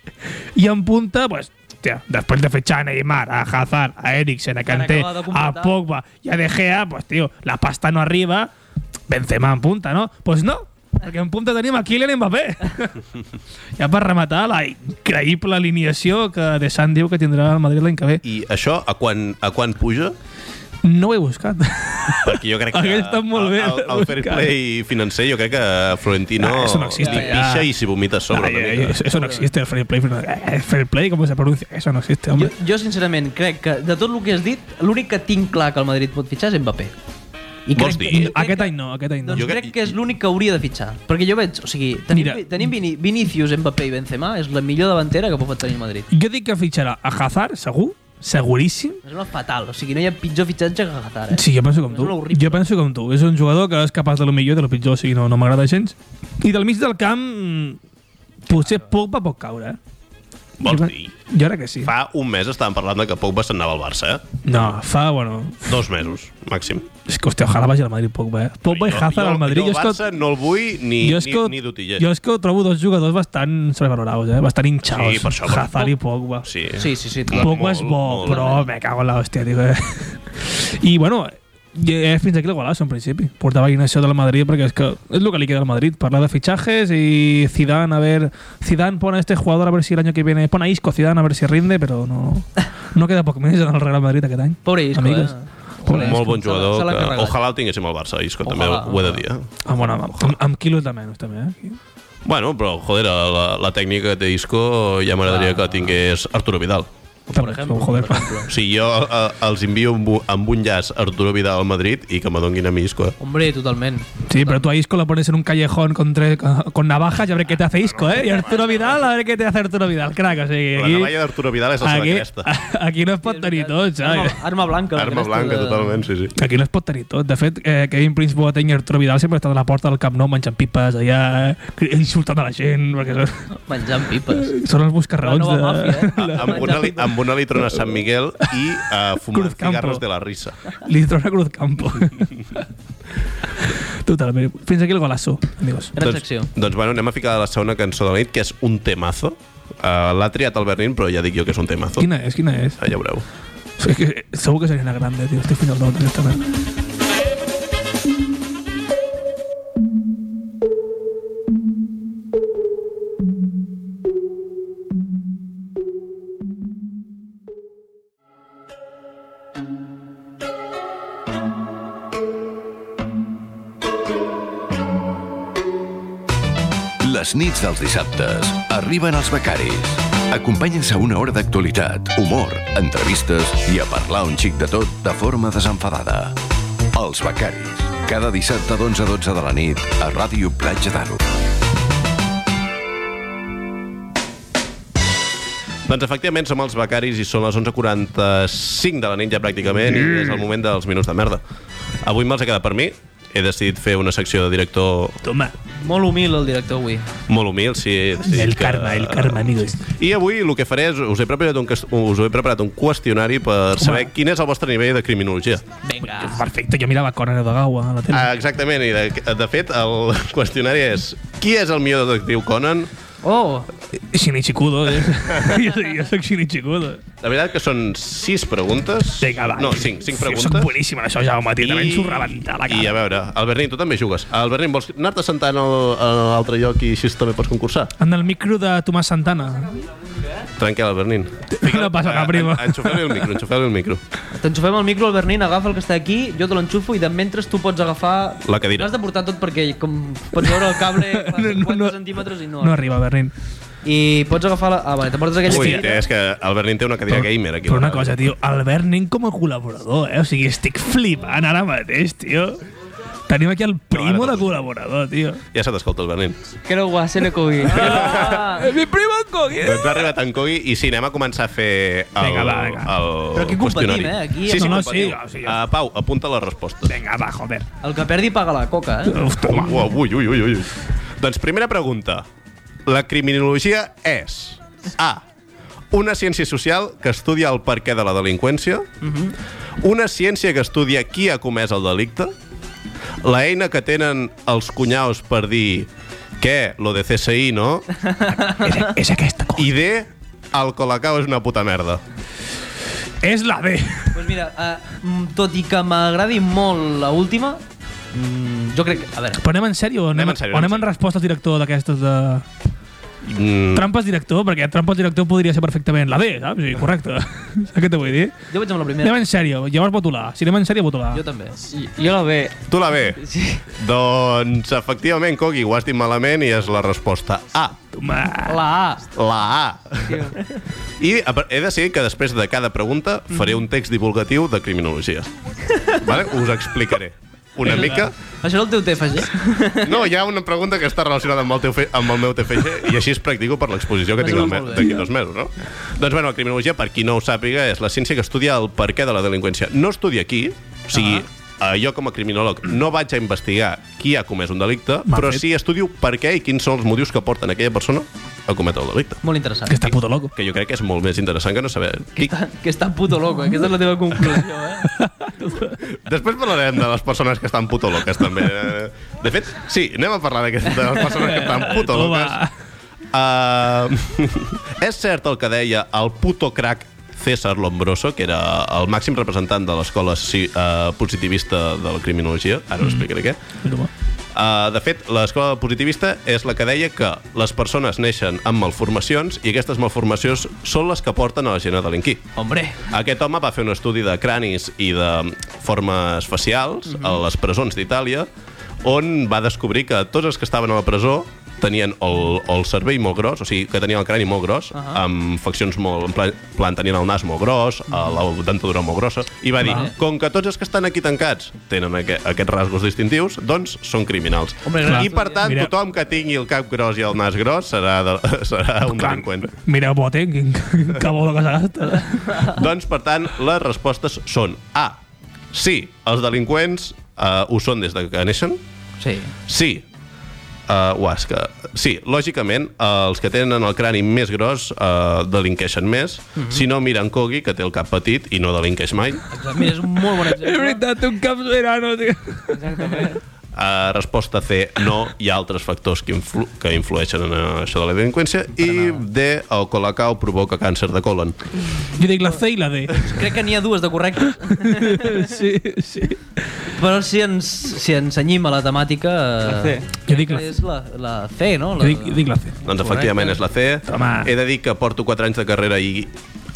[SPEAKER 2] i en punta, pues, hòstia, després de fitxar a Neymar, a Hazard, a Eriksen, a Kanté,
[SPEAKER 3] acabado de
[SPEAKER 2] a
[SPEAKER 3] completar.
[SPEAKER 2] Pogba i a De Gea, pues, tio, la pasta no arriba, Benzema en punta, no? Pues no, perquè en punta tenim a Kylian Mbappé. ja per rematar la increïble alineació que De Sant diu que tindrà el Madrid l'any que ve.
[SPEAKER 1] I això, a quan, a quan puja?
[SPEAKER 2] No ho he buscat.
[SPEAKER 1] Perquè jo crec que...
[SPEAKER 2] Hauria estat molt bé
[SPEAKER 1] El, el fair
[SPEAKER 2] buscar.
[SPEAKER 1] play financer, jo crec que Florentino
[SPEAKER 2] Ah, eso no existe,
[SPEAKER 1] li
[SPEAKER 2] ja. Ah,
[SPEAKER 1] pixa i s'hi vomita a sobre
[SPEAKER 2] Ay,
[SPEAKER 1] una
[SPEAKER 2] ay,
[SPEAKER 1] mica.
[SPEAKER 2] eso, eso no existe, el fair play. El fair play, ¿cómo se pronuncia? Eso no existe,
[SPEAKER 3] Jo,
[SPEAKER 2] hombre.
[SPEAKER 3] jo, sincerament, crec que de tot el que has dit, l'únic que tinc clar que el Madrid pot fitxar és Mbappé. I
[SPEAKER 1] Vols
[SPEAKER 3] crec,
[SPEAKER 1] dir?
[SPEAKER 3] i crec
[SPEAKER 2] aquest
[SPEAKER 3] que-
[SPEAKER 2] any no, aquest any no.
[SPEAKER 3] Doncs
[SPEAKER 1] Mm. Jo
[SPEAKER 3] jo
[SPEAKER 1] crec-
[SPEAKER 3] crec que és l'únic que hauria de fitxar. Perquè jo veig, o sigui, tenim,
[SPEAKER 2] Mira.
[SPEAKER 3] Mira. tenim Vini, Vinicius, Mbappé i Benzema, és la millor davantera que pot tenir el Madrid.
[SPEAKER 2] Jo dic que fitxarà a Hazard, segur, seguríssim.
[SPEAKER 3] És una fatal, o sigui, no hi ha pitjor fitxatge que Qatar, eh?
[SPEAKER 2] Sí, jo penso com tu.
[SPEAKER 3] És una horrible.
[SPEAKER 2] Jo penso com tu. És un jugador que és capaç de lo millor i de lo pitjor, o sigui, no, no m'agrada gens. I del mig del camp, mm, potser Pogba pot caure, eh?
[SPEAKER 1] Vols
[SPEAKER 2] jo,
[SPEAKER 1] dir?
[SPEAKER 2] Jo crec que sí. Fa.
[SPEAKER 1] Fa un mes estàvem parlant de que Pogba se'n anava al Barça, eh?
[SPEAKER 2] No, fa, bueno...
[SPEAKER 1] Dos mesos, màxim.
[SPEAKER 2] És que, hòstia, ojalà vagi al Madrid Pogba, eh? Pogba i
[SPEAKER 1] Jo-
[SPEAKER 2] Hazard
[SPEAKER 1] jo-
[SPEAKER 2] al Madrid.
[SPEAKER 1] Jo el
[SPEAKER 2] és que-
[SPEAKER 1] Barça no el vull ni,
[SPEAKER 2] jo és
[SPEAKER 1] ni,
[SPEAKER 2] que,
[SPEAKER 1] ni d'utiller.
[SPEAKER 2] jo és que ho trobo dos jugadors bastant sobrevalorados, eh? bastant hinchados.
[SPEAKER 1] Sí, per això, però-
[SPEAKER 2] Hazard i Pogba.
[SPEAKER 1] Sí.
[SPEAKER 3] Sí, sí, sí.
[SPEAKER 2] Pogba és bo, però me cago en la hòstia, tio. eh? I, bueno, I eh, fins aquí la Gualasso, en principi. Portava Ignacio de la Madrid perquè és que és el que li queda al Madrid. Parlar de fichajes i Zidane, a ver... Zidane pone a este jugador a ver si el año que viene... Pone a Isco Zidane a ver si rinde, però no, no queda poc més en el Real Madrid aquest any.
[SPEAKER 3] Pobre Isco,
[SPEAKER 2] Amigues.
[SPEAKER 3] eh?
[SPEAKER 1] Un
[SPEAKER 3] Pobre
[SPEAKER 1] molt bon
[SPEAKER 3] Se l'ha- se
[SPEAKER 1] jugador.
[SPEAKER 3] l'ha
[SPEAKER 1] Que,
[SPEAKER 3] carregat.
[SPEAKER 1] ojalà el tinguéssim al Barça, Isco, també
[SPEAKER 3] Ojalà,
[SPEAKER 1] ho he de dir. eh?
[SPEAKER 2] Ah, bueno, amb, amb, amb quilos de menys, també, eh?
[SPEAKER 1] Bueno, però, joder, la, la tècnica de Isco ja m'agradaria que la tingués Arturo Vidal.
[SPEAKER 2] També, oh, joder.
[SPEAKER 1] O sigui, jo eh, els envio amb, un- amb un llaç Arturo Vidal al Madrid i que m'adonguin a mi Isco. eh?
[SPEAKER 3] Hombre, totalment.
[SPEAKER 2] Sí, pero tú a Isco lo pones en un callejón con, tres, con navajas y a ver qué te hace Isco, ¿eh? Y Arturo Vidal, a ver qué te hace Arturo Vidal, crack. O sigui,
[SPEAKER 1] La navalla d'Arturo Vidal és la seva
[SPEAKER 2] aquí, Ah,
[SPEAKER 1] cresta.
[SPEAKER 2] aquí no es pot tenir tot,
[SPEAKER 3] Arma,
[SPEAKER 2] saps?
[SPEAKER 3] arma blanca. la
[SPEAKER 1] Arma
[SPEAKER 3] cresta
[SPEAKER 1] blanca,
[SPEAKER 3] de-
[SPEAKER 1] totalment, sí, sí.
[SPEAKER 2] Aquí no es pot tenir tot. De fet, eh, Kevin Prince Boateng i Arturo Vidal sempre estan a la porta del Camp Nou menjant pipes allà, eh, insultant a la gent, perquè són,
[SPEAKER 3] Menjant pipes.
[SPEAKER 2] són els buscarraons
[SPEAKER 3] La
[SPEAKER 2] de...
[SPEAKER 3] nova màfia, eh?
[SPEAKER 1] Amb una, li, amb una litrona a Sant Miguel i uh, fumant
[SPEAKER 2] Cruz Campo.
[SPEAKER 1] cigarros de la risa.
[SPEAKER 2] Li trona Cruz Campo. Totalment. Fins aquí el golaço, amigos.
[SPEAKER 3] Gran
[SPEAKER 1] doncs,
[SPEAKER 3] secció.
[SPEAKER 1] doncs bueno, anem a ficar la segona cançó de la nit, que és un temazo. Uh, L'ha triat el Bernin, però ja dic jo que és un temazo.
[SPEAKER 2] Quina és, quina és?
[SPEAKER 1] Ah, ja ho veureu.
[SPEAKER 2] És que segur que seria una grande, tio. Estic fins al dot, directament.
[SPEAKER 5] Les nits dels dissabtes arriben els becaris. Acompanyen-se a una hora d'actualitat, humor, entrevistes i a parlar un xic de tot de forma desenfadada. Els becaris. Cada dissabte d'11 a 12 de la nit a Ràdio Platja d'Aro.
[SPEAKER 1] Doncs efectivament som els becaris i són les 11.45 de la nit ja pràcticament i és el moment dels minuts de merda. Avui me'ls he quedat per mi. He decidit fer una secció de director
[SPEAKER 2] Toma.
[SPEAKER 3] Molt humil el director avui.
[SPEAKER 1] molt humil. Si he decidit
[SPEAKER 2] El
[SPEAKER 1] que- Ah.
[SPEAKER 2] karma, el karma, amigos.
[SPEAKER 1] I avui el que faré és, us he preparat un, ques- us he preparat un qüestionari per saber
[SPEAKER 2] Home.
[SPEAKER 1] quin és el vostre nivell de criminologia.
[SPEAKER 3] Vinga.
[SPEAKER 2] Perfecte, jo mirava Conan Edogawa a la tele.
[SPEAKER 1] Ah, exactament, i de, de fet el qüestionari és qui és el millor detectiu Conan?
[SPEAKER 3] Oh,
[SPEAKER 2] Shinichi Kudo, eh? jo, jo soc Shinichi Kudo.
[SPEAKER 1] La veritat que són sis preguntes.
[SPEAKER 2] Vinga, va.
[SPEAKER 1] No, cinc, cinc
[SPEAKER 2] Jo soc
[SPEAKER 1] preguntes.
[SPEAKER 2] boníssim en això, Jaume, tio. També ens ho rebentar la cara.
[SPEAKER 1] I a veure, Albernín, tu també jugues. Albernín, vols anar-te sentant al- a l'altre lloc i així també pots concursar?
[SPEAKER 2] En el micro de Tomàs Santana.
[SPEAKER 1] Tranquil, Albernín.
[SPEAKER 2] No passa cap, prima.
[SPEAKER 1] En- Enxufeu-li el micro, enxufeu-li el micro.
[SPEAKER 3] t'enxufem el micro, el Bernin, agafa el que està aquí, jo te l'enxufo i de mentre tu pots agafar...
[SPEAKER 1] La cadira.
[SPEAKER 3] L'has de portar tot perquè, com pots veure, el cable fa
[SPEAKER 2] No, no,
[SPEAKER 3] 4
[SPEAKER 2] no.
[SPEAKER 3] centímetres i no...
[SPEAKER 2] No arriba, Bernin.
[SPEAKER 3] I pots agafar la... Ah, vale, te portes aquella
[SPEAKER 1] Ui, eh,
[SPEAKER 3] cadireta.
[SPEAKER 1] és que Albernín té una cadira gamer aquí.
[SPEAKER 2] Però
[SPEAKER 1] al
[SPEAKER 2] una
[SPEAKER 1] darrere.
[SPEAKER 2] cosa, tio, el Bernin com a col·laborador, eh? O sigui, estic flipant ara mateix, tio. Tenim aquí el
[SPEAKER 1] no.
[SPEAKER 2] primo de col·laborador, tio.
[SPEAKER 1] Ja se t'escolta, Albernín.
[SPEAKER 3] Creo guase no cogui. Ah,
[SPEAKER 2] mi primo en Kogi!
[SPEAKER 1] Doncs ha arribat en Kogi i sí, anem a començar a fer el,
[SPEAKER 2] Vinga, Eh. va, vinga.
[SPEAKER 1] el
[SPEAKER 3] Però aquí competim,
[SPEAKER 1] qüestionari.
[SPEAKER 3] eh? Aquí-
[SPEAKER 1] sí, sí,
[SPEAKER 2] No, no,
[SPEAKER 1] competiu.
[SPEAKER 2] sí, o sigui,
[SPEAKER 1] Ah, Pau, apunta les respostes.
[SPEAKER 2] Vinga, va, joder.
[SPEAKER 3] el que perdi paga la coca, eh?
[SPEAKER 2] Uf, toma.
[SPEAKER 1] Uau, ui, ui, ui, ui. Doncs primera pregunta. La criminologia és A. Una ciència social que estudia el perquè de la delinqüència. Una ciència que estudia qui ha comès el delicte. La eina que tenen els cunyaus per dir què, lo de CSI, no?
[SPEAKER 2] És, és aquesta, Kogi.
[SPEAKER 1] I D. El colacao és una puta merda.
[SPEAKER 2] És la B.
[SPEAKER 3] Pues mira, uh, tot i que m'agradi molt la última, mm, jo crec que... A veure,
[SPEAKER 2] Però anem en sèrio o anem,
[SPEAKER 1] Anem
[SPEAKER 2] anem
[SPEAKER 1] en
[SPEAKER 2] en,
[SPEAKER 1] sèrio,
[SPEAKER 2] o
[SPEAKER 1] anem
[SPEAKER 2] anem
[SPEAKER 1] en
[SPEAKER 2] en resposta al director d'aquestes de...
[SPEAKER 1] Mm,
[SPEAKER 2] Trampes director, perquè trampes director podria ser perfectament la B, saps? Sí, correcte. Saps què te vull dir?
[SPEAKER 3] jo vaig amb la primera.
[SPEAKER 2] Anem en sèrio, llavors voto l'A. Si anem en sèrio, voto l'A.
[SPEAKER 3] Jo també.
[SPEAKER 7] Jo la B.
[SPEAKER 1] tu la B.
[SPEAKER 3] Sí.
[SPEAKER 1] Doncs, efectivament, Kogi, ho has dit malament i és la resposta A.
[SPEAKER 2] Toma.
[SPEAKER 3] La A.
[SPEAKER 1] La A. I a par- he decidit que després de cada pregunta faré un text divulgatiu de criminologia. Vale? Us explicaré. Una mica...
[SPEAKER 3] Això era el teu TFG?
[SPEAKER 1] No, hi ha una pregunta que està relacionada amb el, teu fe, amb el meu TFG i així es practico per l'exposició que
[SPEAKER 3] Em
[SPEAKER 1] tinc
[SPEAKER 3] sembla
[SPEAKER 1] al me-
[SPEAKER 3] Doncs molt bé.
[SPEAKER 1] d'aquí dos mesos, no? Doncs bueno, la criminologia, per qui no ho sàpiga, és la ciència que estudia el perquè de la delinqüència. No estudia qui, o sigui,
[SPEAKER 3] Ah.
[SPEAKER 1] eh, jo com a criminòleg no vaig a investigar qui ha comès un delicte,
[SPEAKER 2] Mal
[SPEAKER 1] però
[SPEAKER 2] fet.
[SPEAKER 1] sí estudio per què i quins són els motius que porten aquella persona a cometre el delicte
[SPEAKER 3] Molt interessant.
[SPEAKER 2] Que està puto loco.
[SPEAKER 1] que jo crec que és molt més interessant que no saber.
[SPEAKER 3] Que està, que està puto loco, eh? aquesta és la teva conclusió, eh?
[SPEAKER 1] Després parlarem de les persones que estan puto loques, també. Eh, De fet, sí, anem a parlar d'aquest- de les persones que estan Eh, puto
[SPEAKER 2] Eh, Toma.
[SPEAKER 1] loques. Uh, és cert el que deia el puto crack César Lombroso, que era el màxim representant de l'escola sí, eh, positivista de la criminologia, ara us explicaré què,
[SPEAKER 2] Mira, va.
[SPEAKER 1] Uh, de fet, l'escola positivista és la que deia que les persones neixen amb malformacions i aquestes malformacions són les que porten a la gent a delinquir.
[SPEAKER 3] Hombre,
[SPEAKER 1] Aquest home va fer un estudi de cranis i de formes facials a les presons d'Itàlia, on va descobrir que tots els que estaven a la presó tenien el, el cervell molt gros, o sigui, que tenien el crani molt gros, uh -huh. amb faccions molt... En plan, plan, tenien el nas molt gros, uh -huh. la dentadura molt grossa, i va dir, com que tots els que estan aquí tancats tenen aqu aquests rasgos distintius, doncs són criminals.
[SPEAKER 3] Hombre,
[SPEAKER 1] I,
[SPEAKER 3] clar.
[SPEAKER 1] per tant,
[SPEAKER 2] Mira.
[SPEAKER 1] tothom que tingui el cap gros i el nas gros serà, de, serà un delinqüent.
[SPEAKER 2] Mira, bote, quin, quin cabolo que s'ha gastat.
[SPEAKER 1] Doncs, per tant, les respostes són A. Sí, els delinqüents eh, ho són des de que neixen.
[SPEAKER 3] sí.
[SPEAKER 1] Sí, eh, uà, és que... Sí, lògicament, eh, els que tenen el crani més gros eh, delinqueixen més. Mm -hmm. Si no, miren Kogi, que té el cap petit i no delinqueix mai.
[SPEAKER 3] Exacte. Mira, és un molt bon exemple.
[SPEAKER 2] té un cap verano, tio.
[SPEAKER 1] Eh, resposta C, no. Hi ha altres factors que, influ que influeixen en eh, això de la delinqüència. I D, el colacao provoca càncer de colon.
[SPEAKER 2] Jo dic la C i la D.
[SPEAKER 3] Crec que n'hi ha dues de correctes,
[SPEAKER 2] Sí, sí.
[SPEAKER 3] però si ens, si ens senyim a la temàtica... La
[SPEAKER 7] C.
[SPEAKER 2] Jo dic la C.
[SPEAKER 3] És la, la C, no?
[SPEAKER 2] Jo
[SPEAKER 3] La,
[SPEAKER 2] dic, jo dic la C.
[SPEAKER 1] Doncs efectivament és la C.
[SPEAKER 2] Home.
[SPEAKER 1] He de dir que porto 4 anys de carrera i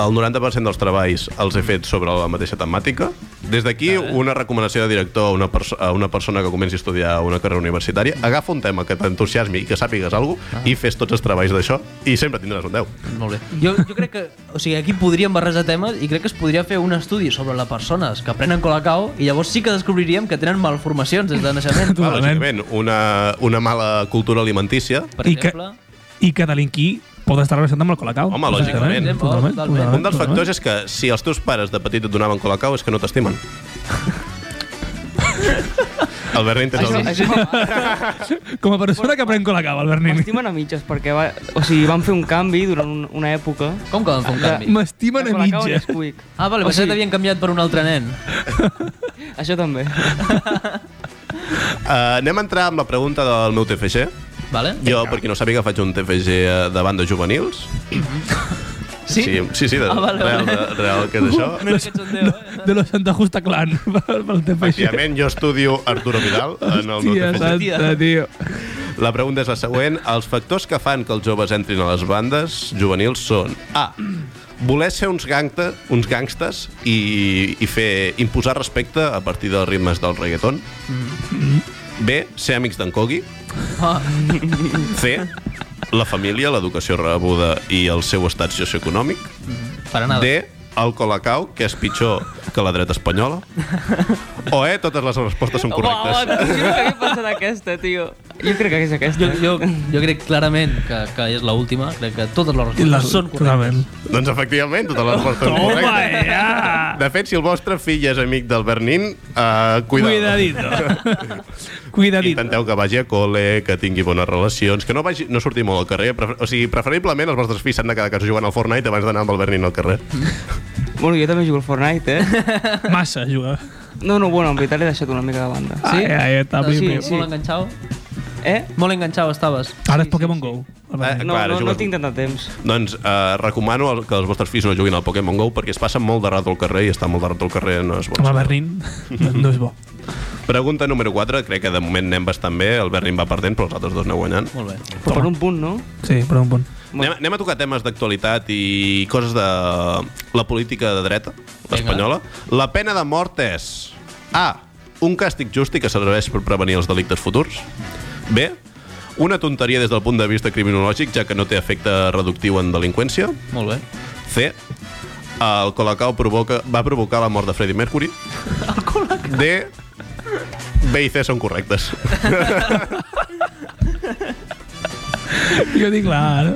[SPEAKER 1] el 90% dels treballs els he fet sobre la mateixa temàtica. Des d'aquí, una recomanació de director a una, perso a una persona que comenci a estudiar una carrera universitària. Agafa un tema que t'entusiasmi i que sàpigues alguna cosa
[SPEAKER 2] Ah.
[SPEAKER 1] i fes tots els treballs d'això i sempre tindràs un 10.
[SPEAKER 3] Molt bé. Jo, jo crec que... O sigui, aquí podríem barrejar temes i crec que es podria fer un estudi sobre les persones que prenen colacao i llavors sí que descobriríem que tenen malformacions des de naixement.
[SPEAKER 1] Clar,
[SPEAKER 2] Totalment.
[SPEAKER 1] lògicament, una, una mala cultura alimentícia.
[SPEAKER 3] Per exemple...
[SPEAKER 2] I que delinquir pot estar relacionat amb el colacau.
[SPEAKER 1] Home, lògicament.
[SPEAKER 2] Totalment,
[SPEAKER 3] Totalment.
[SPEAKER 2] totalment,
[SPEAKER 1] Un dels
[SPEAKER 2] totalment.
[SPEAKER 1] factors és que si els teus pares de petit et donaven colacau és que no t'estimen. El Bernin té
[SPEAKER 7] Això,
[SPEAKER 1] el...
[SPEAKER 7] això
[SPEAKER 2] Com a persona que pren colacau, Albert Nin.
[SPEAKER 7] m'estimen a mitges, perquè va, o sigui, van fer un canvi durant un, una època.
[SPEAKER 3] Com que van fer un canvi?
[SPEAKER 2] M'estimen a
[SPEAKER 7] Colacao
[SPEAKER 2] mitja.
[SPEAKER 7] Nesquik.
[SPEAKER 3] Ah, vale,
[SPEAKER 7] O
[SPEAKER 3] pensava
[SPEAKER 7] sigui-
[SPEAKER 3] que t'havien canviat per un altre nen.
[SPEAKER 7] Això també.
[SPEAKER 1] Uh, anem a entrar amb la pregunta del meu TFG.
[SPEAKER 3] Vale?
[SPEAKER 1] Jo, per qui no sàpiga, faig un TFG eh, de banda juvenils.
[SPEAKER 3] Sí?
[SPEAKER 1] Sí, sí, sí de,
[SPEAKER 3] Ah, vale,
[SPEAKER 1] real,
[SPEAKER 3] vale.
[SPEAKER 1] de, real, que és això.
[SPEAKER 3] Una mica xondeo, eh?
[SPEAKER 2] De los Santa Justa Clan, pel pel TFG.
[SPEAKER 1] Efectivament, jo estudio Arturo Vidal en el meu
[SPEAKER 2] Tia
[SPEAKER 1] TFG.
[SPEAKER 2] santa, tio.
[SPEAKER 1] La pregunta és la següent. Els factors que fan que els joves entrin a les bandes juvenils són A. Voler ser uns, gangta, uns gangstes i, i fer imposar respecte a partir dels ritmes del reggaeton. B. Ser amics d'en Kogi.
[SPEAKER 3] Ah.
[SPEAKER 1] C. La família, l'educació rebuda i el seu estat socioeconòmic.
[SPEAKER 3] Per anar...
[SPEAKER 1] D. El colacau, que és pitjor que la dreta espanyola. O E. Totes les respostes són
[SPEAKER 7] Home,
[SPEAKER 1] correctes.
[SPEAKER 7] home, jo crec que havia pensat aquesta, tio. Jo crec que és aquesta.
[SPEAKER 3] Jo, jo, jo crec clarament que, que és l'última. Crec que totes les
[SPEAKER 2] I
[SPEAKER 3] respostes són correctes.
[SPEAKER 2] Totalment.
[SPEAKER 1] Doncs efectivament, totes les respostes són
[SPEAKER 2] Home,
[SPEAKER 1] correctes.
[SPEAKER 7] eh.
[SPEAKER 2] ja!
[SPEAKER 1] De fet, si el vostre fill és amic del Bernin, eh, cuidado.
[SPEAKER 2] Cuidadito. Cuidadito.
[SPEAKER 1] Intenteu que vagi a col·le, que tingui bones relacions, que no, vagi, no surti molt al carrer. Prefer, o sigui, preferiblement els vostres fills s'han de quedar a casa jugant al Fortnite abans d'anar amb el Bernin al carrer.
[SPEAKER 7] Bueno, jo també jugo al Fortnite, eh?
[SPEAKER 2] Massa jugar.
[SPEAKER 7] No, no, bueno, en veritat l'he deixat una mica de banda.
[SPEAKER 2] Ai, ai, està
[SPEAKER 3] Estàs
[SPEAKER 2] pim,
[SPEAKER 7] sí,
[SPEAKER 2] pim.
[SPEAKER 7] sí.
[SPEAKER 3] Ah, Molt enganxado.
[SPEAKER 7] Eh?
[SPEAKER 3] Molt enganxado estaves.
[SPEAKER 2] Ara és Pokémon Go. Ah,
[SPEAKER 1] Eh,
[SPEAKER 7] No,
[SPEAKER 1] Clar,
[SPEAKER 7] no, no
[SPEAKER 1] jugues-
[SPEAKER 7] tinc tant de temps.
[SPEAKER 1] Doncs eh, recomano el- que els vostres fills no juguin al Pokémon GO perquè es passen molt de rato al carrer i estar molt de rato al carrer no és
[SPEAKER 2] Amb
[SPEAKER 1] bo.
[SPEAKER 2] el Bernin no és bo.
[SPEAKER 1] Pregunta número 4, crec que de moment anem bastant bé, el Bernin va perdent però els altres dos aneu guanyant.
[SPEAKER 3] Molt bé.
[SPEAKER 7] Però per un punt, no?
[SPEAKER 2] Sí, però un punt.
[SPEAKER 1] Anem, anem a tocar temes d'actualitat i coses de la política de dreta espanyola. La pena de mort és A. Un càstig just i que serveix per prevenir els delictes futurs. B. Una tonteria des del punt de vista criminològic, ja que no té efecte reductiu en delinqüència.
[SPEAKER 3] Molt bé.
[SPEAKER 1] C. El Colacao provoca, va provocar la mort de Freddie Mercury. D. B i C són correctes.
[SPEAKER 2] Jo dic la...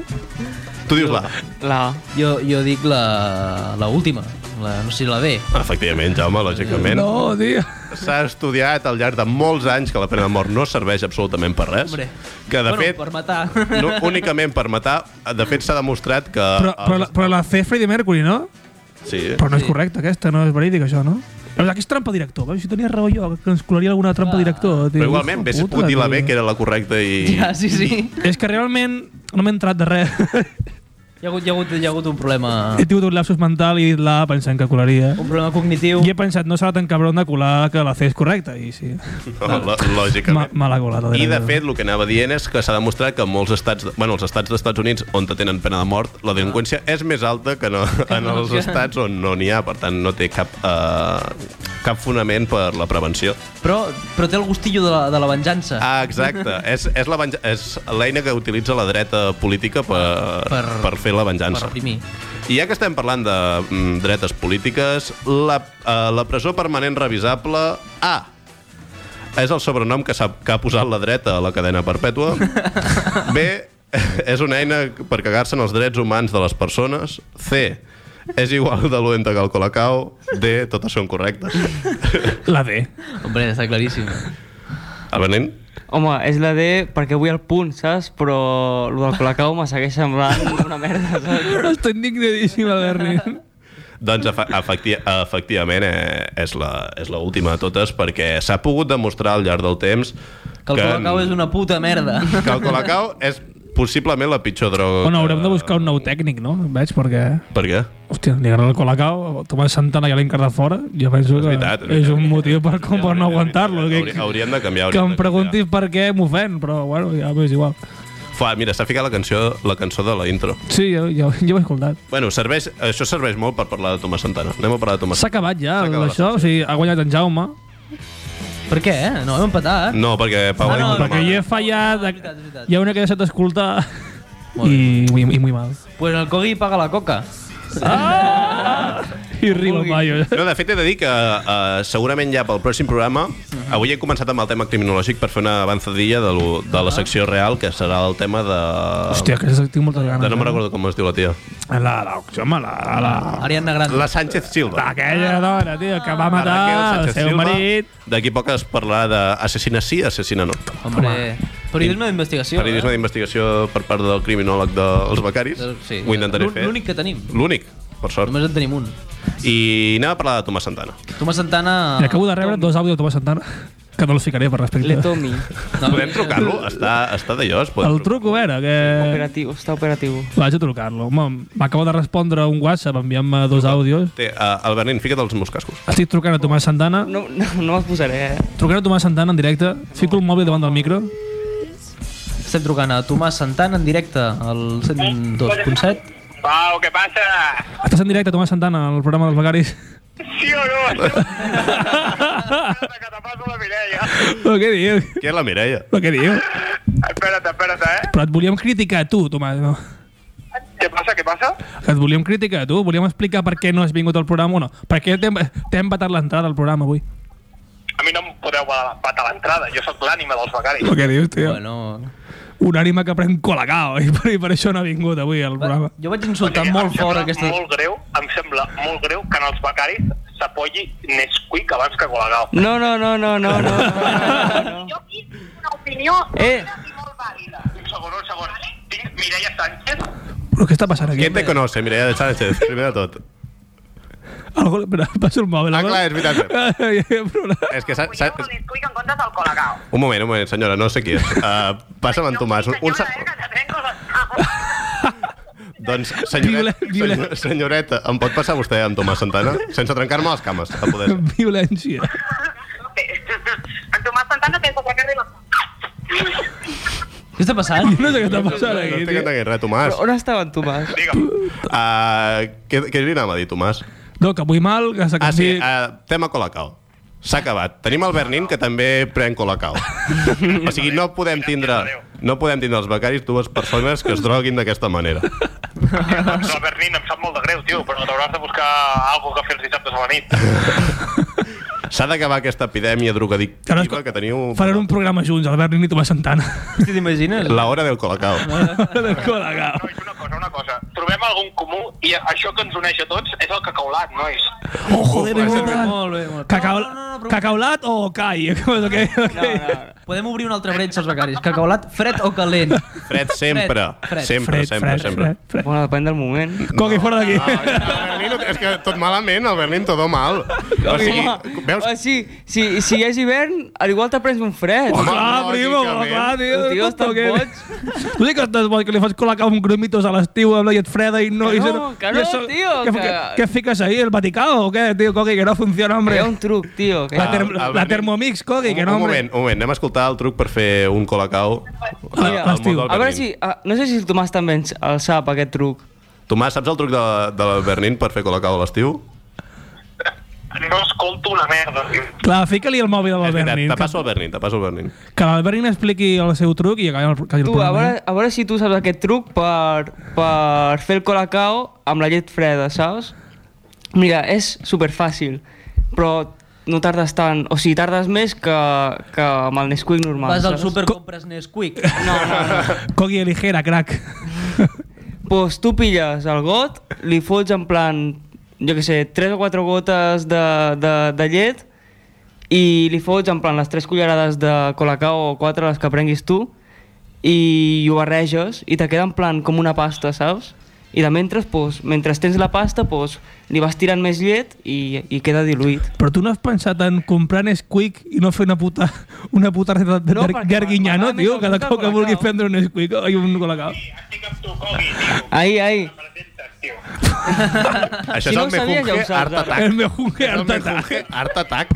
[SPEAKER 1] Tu dius la.
[SPEAKER 7] La...
[SPEAKER 3] Jo, jo dic la, la última. La, no sé si la B.
[SPEAKER 1] Efectivament, Jaume, lògicament.
[SPEAKER 2] No, tio.
[SPEAKER 1] S'ha estudiat al llarg de molts anys que la pena de mort no serveix absolutament per res.
[SPEAKER 3] Hombre.
[SPEAKER 1] Que, de
[SPEAKER 3] bueno,
[SPEAKER 1] fet,
[SPEAKER 3] per matar.
[SPEAKER 1] no, únicament per matar, de fet s'ha demostrat que... eh,
[SPEAKER 2] Però, però, la, però la C és Freddie Mercury, no?
[SPEAKER 1] ah, Sí.
[SPEAKER 2] Però no és correcte aquesta, no és verídic això, no? Però aquí és trampa director, veus? Si tenia raó jo, que ens colaria alguna trampa director. Tio.
[SPEAKER 1] Però igualment, bé, si
[SPEAKER 2] Puta,
[SPEAKER 1] puc dir la B,
[SPEAKER 2] tio.
[SPEAKER 1] que era la correcta i...
[SPEAKER 3] Ja, sí, sí.
[SPEAKER 2] És que realment no m'he entrat de res.
[SPEAKER 3] Hi ha hagut, hi ha hagut, hi ha hagut un problema...
[SPEAKER 1] Ah.
[SPEAKER 2] He tingut un lapsus mental i he dit la A pensant que colaria.
[SPEAKER 3] Un problema cognitiu.
[SPEAKER 2] I he pensat, no serà tan cabron de colar que la C és correcta. I sí,
[SPEAKER 1] Lò-
[SPEAKER 2] ma,
[SPEAKER 1] lògicament.
[SPEAKER 2] me l'ha colat.
[SPEAKER 1] I, de fet, el que anava dient és que s'ha demostrat que molts estats, bueno, els estats dels Estats Units on tenen pena de mort, la delinqüència és més alta que no, en els estats on no n'hi ha. Per tant, no té cap, eh, cap fonament per la prevenció.
[SPEAKER 3] Però, però té el gustillo de la, de la venjança.
[SPEAKER 1] Ah, exacte. és és la venja- és l'eina que utilitza la dreta política per, per,
[SPEAKER 3] Per-
[SPEAKER 1] per fer la
[SPEAKER 3] per
[SPEAKER 1] venjança.
[SPEAKER 3] reprimir.
[SPEAKER 1] I ja que estem parlant de mm, dretes polítiques, la, eh, la presó permanent revisable A és el sobrenom que, s'ha- que ha posat la dreta a la cadena perpètua. B és una eina per cagar-se en els drets humans de les persones. C és igual de lenta que el colacao. D, totes són correctes.
[SPEAKER 2] La D.
[SPEAKER 3] Hombre, està claríssim.
[SPEAKER 1] El Benin?
[SPEAKER 7] Home, és la D perquè vull al punt, saps? Però el del Colacau me segueix semblant una merda, saps?
[SPEAKER 2] Estic indignadíssim, el Berni.
[SPEAKER 1] Doncs efe- efecti efectivament eh, és la- és l'última de totes perquè s'ha pogut demostrar al llarg del temps
[SPEAKER 3] Que el Colacau és una puta merda.
[SPEAKER 1] que el colacao és possiblement la pitjor droga.
[SPEAKER 2] Bueno, haurem de
[SPEAKER 1] que-
[SPEAKER 2] buscar un nou tècnic, no? Veig, perquè...
[SPEAKER 1] Per què?
[SPEAKER 2] Hòstia, li agrada el Colacao, Tomàs Santana ja l'encar de fora, jo penso que
[SPEAKER 1] veritat, és
[SPEAKER 2] és
[SPEAKER 1] veritat.
[SPEAKER 2] un motiu per, com per no aguantar-lo. Que,
[SPEAKER 1] Hauri- Hauríem de canviar.
[SPEAKER 2] que
[SPEAKER 1] hauríem
[SPEAKER 2] em
[SPEAKER 1] de
[SPEAKER 2] preguntis per què m'ofèn, però bueno, ja m'és igual.
[SPEAKER 1] canviar. Fa, mira, s'ha ficat la cançó, la cançó de la intro.
[SPEAKER 2] Sí, ja, ja, ja ho he escoltat.
[SPEAKER 1] Bueno, serveix, això serveix molt per parlar de Tomàs Santana. Anem a parlar de Tomàs
[SPEAKER 2] S'ha
[SPEAKER 1] Santana.
[SPEAKER 2] acabat ja,
[SPEAKER 1] S'ha acabat,
[SPEAKER 2] això, o sigui, ha guanyat en Jaume,
[SPEAKER 3] per què? eh? No, hem empatat.
[SPEAKER 1] No, perquè Pau...
[SPEAKER 3] Ah,
[SPEAKER 1] ha
[SPEAKER 3] no,
[SPEAKER 1] dit
[SPEAKER 2] perquè
[SPEAKER 1] Tomàs.
[SPEAKER 2] hi he
[SPEAKER 3] és
[SPEAKER 2] fallat,
[SPEAKER 3] veritat, és veritat.
[SPEAKER 2] hi ha una que he deixat d'escoltar i, i, i molt mal.
[SPEAKER 3] Pues el Cogui paga la coca.
[SPEAKER 2] I riba
[SPEAKER 7] vulguis.
[SPEAKER 2] Mayo.
[SPEAKER 1] No, de fet, he de dir que uh, segurament ja pel pròxim programa avui he començat amb el tema criminològic per fer una avanzadilla de, lo, de
[SPEAKER 3] Ah.
[SPEAKER 1] la secció real que serà el tema de...
[SPEAKER 2] Hòstia, que tinc moltes ganes.
[SPEAKER 1] de no me'n
[SPEAKER 2] eh?
[SPEAKER 1] recordo com es diu la tia.
[SPEAKER 2] La, la, home, la, la,
[SPEAKER 3] Ariadna Grande.
[SPEAKER 1] Ah. La Sánchez Silva.
[SPEAKER 3] Ah,
[SPEAKER 2] aquella dona, tio, que va matar
[SPEAKER 1] Raquel
[SPEAKER 2] el
[SPEAKER 1] Sánchez
[SPEAKER 2] seu
[SPEAKER 1] Silva.
[SPEAKER 2] marit.
[SPEAKER 1] D'aquí a poc es parlarà d'assassina sí, assassina no.
[SPEAKER 3] Hombre, periodisme d'investigació.
[SPEAKER 1] Periodisme d'investigació per part del criminòleg dels becaris.
[SPEAKER 3] eh? Del- sí,
[SPEAKER 1] Ho intentaré
[SPEAKER 3] l'ú-
[SPEAKER 1] fer.
[SPEAKER 3] l'únic que tenim.
[SPEAKER 1] L'únic, per sort.
[SPEAKER 3] Només en tenim un.
[SPEAKER 1] I anem a parlar de Tomàs Santana.
[SPEAKER 3] Tomàs Santana...
[SPEAKER 2] I acabo de rebre dos àudios de Tomàs Santana que no els ficaré per respecte.
[SPEAKER 7] Le Tomi.
[SPEAKER 3] No,
[SPEAKER 1] Podem trucar-lo? Està, està d'allò? es pot
[SPEAKER 2] El
[SPEAKER 1] trucar.
[SPEAKER 2] truco era que...
[SPEAKER 7] Operatiu, està operatiu.
[SPEAKER 2] Vaig a trucar-lo. Home, M'acaba de respondre un WhatsApp enviant-me dos àudios.
[SPEAKER 1] Té, uh, el Bernin, fica't els meus cascos.
[SPEAKER 2] Estic trucant a Tomàs Santana.
[SPEAKER 7] No, no, no me'ls posaré, eh?
[SPEAKER 2] Trucant a Tomàs Santana en directe. Fico el mòbil davant del micro.
[SPEAKER 3] Estem trucant a Tomàs Santana en directe al 102.7.
[SPEAKER 8] Pau, ¿qué pasa?
[SPEAKER 2] Estàs en directe, Tomàs Santana, al programa dels becaris.
[SPEAKER 8] ¿Sí o no? Catapazo la Mireia.
[SPEAKER 2] Però què dius?
[SPEAKER 1] Qui és la Mireia?
[SPEAKER 2] Però què dius?
[SPEAKER 8] Espérate, espérate, ¿eh?
[SPEAKER 2] Però et volíem criticar a tu, Tomàs. No?
[SPEAKER 8] ¿Qué pasa, qué pasa?
[SPEAKER 2] Et volíem criticar a tu. Volíem explicar per què no has vingut al programa o no. Per què t'hem t'hem vetat l'entrada al programa avui.
[SPEAKER 8] A mi no em podeu patar l'entrada, jo sóc l'ànima dels becaris.
[SPEAKER 2] Però què dius, tio? Bueno.
[SPEAKER 3] Bueno...
[SPEAKER 2] Una ànima que pren colacao i per, i per això no ha vingut avui al programa.
[SPEAKER 3] Jo vaig insultar
[SPEAKER 8] Em
[SPEAKER 3] molt fort
[SPEAKER 8] sembla
[SPEAKER 3] aquesta...
[SPEAKER 8] Molt greu, em sembla molt greu que en els becaris s'apolli Nesquik abans que Colagao.
[SPEAKER 7] No, no, no, no, no, no, no, no, no.
[SPEAKER 9] Jo aquí tinc una opinió
[SPEAKER 7] Eh.
[SPEAKER 9] i molt vàlida.
[SPEAKER 8] Un segon, un segon. Tinc Mireia Sánchez.
[SPEAKER 2] Però què està passant aquí?
[SPEAKER 1] Qui te conoce, Mireia de Sánchez, primer de tot?
[SPEAKER 2] Algú... Espera, passo el mòbil.
[SPEAKER 1] Ah,
[SPEAKER 2] algú-
[SPEAKER 1] clar, és veritat.
[SPEAKER 2] Ai, ai, programa.
[SPEAKER 1] És que s'ha...
[SPEAKER 9] Opinió
[SPEAKER 1] s'ha-
[SPEAKER 9] amb el Nesquik en comptes del Colacao.
[SPEAKER 1] Un moment, un moment, senyora, no sé qui és. Uh, passa'm en Tomàs. Un, un,
[SPEAKER 9] Senyora, eh,
[SPEAKER 1] se-
[SPEAKER 9] que te trenco les cames.
[SPEAKER 1] Doncs, senyoret,
[SPEAKER 2] Violent, violent.
[SPEAKER 1] senyor- senyoreta, em pot passar vostè amb Tomàs Santana? Sense trencar-me les cames, a poder ser.
[SPEAKER 2] Violència.
[SPEAKER 9] Bé, En Tomàs Santana pensa que arriba.
[SPEAKER 3] Què està passant?
[SPEAKER 2] No sé què està passant
[SPEAKER 1] No
[SPEAKER 2] aquí,
[SPEAKER 1] estic
[SPEAKER 2] tio.
[SPEAKER 1] entenent res, Tomàs.
[SPEAKER 7] Però on estava en Tomàs?
[SPEAKER 8] Digue'm,
[SPEAKER 1] Uh, què, què li anava a dir, Tomàs?
[SPEAKER 2] No, que vull mal, que s'ha
[SPEAKER 1] Ah, sí,
[SPEAKER 2] canviat.
[SPEAKER 1] uh, tema Colacao. S'ha acabat. Tenim el Bernin, que també pren Colacao. o sigui, no podem tindre, no podem tindre els becaris dues persones que es droguin d'aquesta manera.
[SPEAKER 8] doncs el Bernin em sap molt de greu, tio, però t'hauràs de buscar alguna cosa que fer els dissabtes a la nit.
[SPEAKER 1] S'ha d'acabar aquesta epidèmia
[SPEAKER 2] Ara es
[SPEAKER 1] drogadictiva
[SPEAKER 2] co-
[SPEAKER 1] que teniu...
[SPEAKER 2] Faran un programa junts, Albert Nin i Tomàs Santana.
[SPEAKER 3] Hosti, t'imagines?
[SPEAKER 1] La hora del Colacao.
[SPEAKER 2] Ah, Del Colacao.
[SPEAKER 8] Nois, una cosa, una cosa. Trobem algun comú i això que ens uneix a tots és el cacaulat, nois.
[SPEAKER 2] Oh, joder, és
[SPEAKER 3] Molt bé,
[SPEAKER 2] veritat.
[SPEAKER 3] molt bé. molt bé.
[SPEAKER 2] Cacau, cacaulat o cai? eh? Com és, okay,
[SPEAKER 7] No,
[SPEAKER 2] okay.
[SPEAKER 7] no, no.
[SPEAKER 3] Podem obrir una altra bretxa als becaris. Cacaolat fred o calent?
[SPEAKER 1] Fred sempre.
[SPEAKER 3] Fred, fred,
[SPEAKER 1] sempre, sempre,
[SPEAKER 2] Fred,
[SPEAKER 1] sempre. Ah,
[SPEAKER 2] fred, fred, fred.
[SPEAKER 7] Bueno, depèn del moment.
[SPEAKER 2] Coqui, fora d'aquí.
[SPEAKER 10] El Berlín, és que tot malament, el Berlín todo mal. O sigui,
[SPEAKER 7] Home,
[SPEAKER 10] veus?
[SPEAKER 7] o sigui, si, si hi és hivern, al igual te prens un fred.
[SPEAKER 10] Home,
[SPEAKER 2] Oh, Clar,
[SPEAKER 10] no,
[SPEAKER 2] primo,
[SPEAKER 10] lògicament.
[SPEAKER 2] clar, tio.
[SPEAKER 7] El tio
[SPEAKER 2] tot
[SPEAKER 7] està
[SPEAKER 2] toquent.
[SPEAKER 7] boig.
[SPEAKER 2] Tu dic que estàs boig, que li fas col·locar un grumitos a l'estiu amb la llet freda i no...
[SPEAKER 7] Que
[SPEAKER 2] i
[SPEAKER 7] no,
[SPEAKER 2] se-
[SPEAKER 7] que no,
[SPEAKER 2] i això-
[SPEAKER 7] tio,
[SPEAKER 2] Què,
[SPEAKER 7] que-
[SPEAKER 2] què- què fiques ahí, el Vaticà o què, tio, Coqui, que no funciona,
[SPEAKER 7] Hi
[SPEAKER 2] hombre?
[SPEAKER 7] ha un truc, tio. Que...
[SPEAKER 2] La,
[SPEAKER 1] Ah,
[SPEAKER 2] term
[SPEAKER 1] el
[SPEAKER 2] la
[SPEAKER 1] Berlín.
[SPEAKER 2] Thermomix, Coqui, que
[SPEAKER 1] Un,
[SPEAKER 2] no,
[SPEAKER 1] un
[SPEAKER 2] hombre.
[SPEAKER 1] moment, un moment, anem a escoltar el truc per fer un colacao al
[SPEAKER 2] Ah,
[SPEAKER 7] Mira,
[SPEAKER 1] al món del
[SPEAKER 7] a veure
[SPEAKER 1] Berlín.
[SPEAKER 7] si... ah, no sé si el Tomàs també ens el sap, aquest truc.
[SPEAKER 1] Tomàs, saps el truc de, de Bernin per fer colacao a l'estiu?
[SPEAKER 8] No escolto una merda, tio.
[SPEAKER 2] Clar, fica-li el mòbil al
[SPEAKER 1] És veritat,
[SPEAKER 2] Bernin.
[SPEAKER 1] Te passo el Bernin, te passo el Bernin.
[SPEAKER 2] que- Que el Bernin expliqui el seu truc i acabem el, acabem el
[SPEAKER 7] Tu, a
[SPEAKER 2] programa.
[SPEAKER 7] veure, a veure si tu saps aquest truc per, per fer el colacao amb la llet freda, saps? Mira, és superfàcil, però no tardes tant, o sigui, tardes més que, que amb el Nesquik normal.
[SPEAKER 3] Vas al
[SPEAKER 7] saps?
[SPEAKER 3] súper, compres Nesquik.
[SPEAKER 7] No, no, no.
[SPEAKER 2] eh? Coqui Ligera, crac.
[SPEAKER 7] pues Doncs tu pilles el got, li fots en plan, jo que sé, 3 o 4 gotes de, de, de llet i li fots en plan les 3 cullerades de colacao o 4, les que prenguis tu, i ho barreges i te queda en plan com una pasta, saps? I de mentre, pues, mentre tens la pasta, pues, li vas tirant més llet i, i queda diluït.
[SPEAKER 2] Però tu no has pensat en comprar Nesquik i no fer una puta, una puta receta de
[SPEAKER 7] No,
[SPEAKER 2] no,
[SPEAKER 7] perquè
[SPEAKER 2] Garguinyano,
[SPEAKER 7] m'agrada
[SPEAKER 2] tio,
[SPEAKER 7] més el
[SPEAKER 2] cada
[SPEAKER 7] puta
[SPEAKER 2] cop que vulgui
[SPEAKER 7] Colacao.
[SPEAKER 2] prendre un Nesquik i un colacao.
[SPEAKER 8] Estic amb tu, Cogi, tio.
[SPEAKER 7] Ahí, ahí.
[SPEAKER 8] Presentes, tio.
[SPEAKER 1] Això
[SPEAKER 7] Si
[SPEAKER 1] és
[SPEAKER 7] no
[SPEAKER 1] el
[SPEAKER 7] ho
[SPEAKER 1] meu
[SPEAKER 7] sabies, ja ho
[SPEAKER 1] junge,
[SPEAKER 7] saps,
[SPEAKER 1] art
[SPEAKER 7] ara.
[SPEAKER 1] attack.
[SPEAKER 2] El meu junge
[SPEAKER 10] El meu
[SPEAKER 2] artata.
[SPEAKER 10] junge, Art Attack.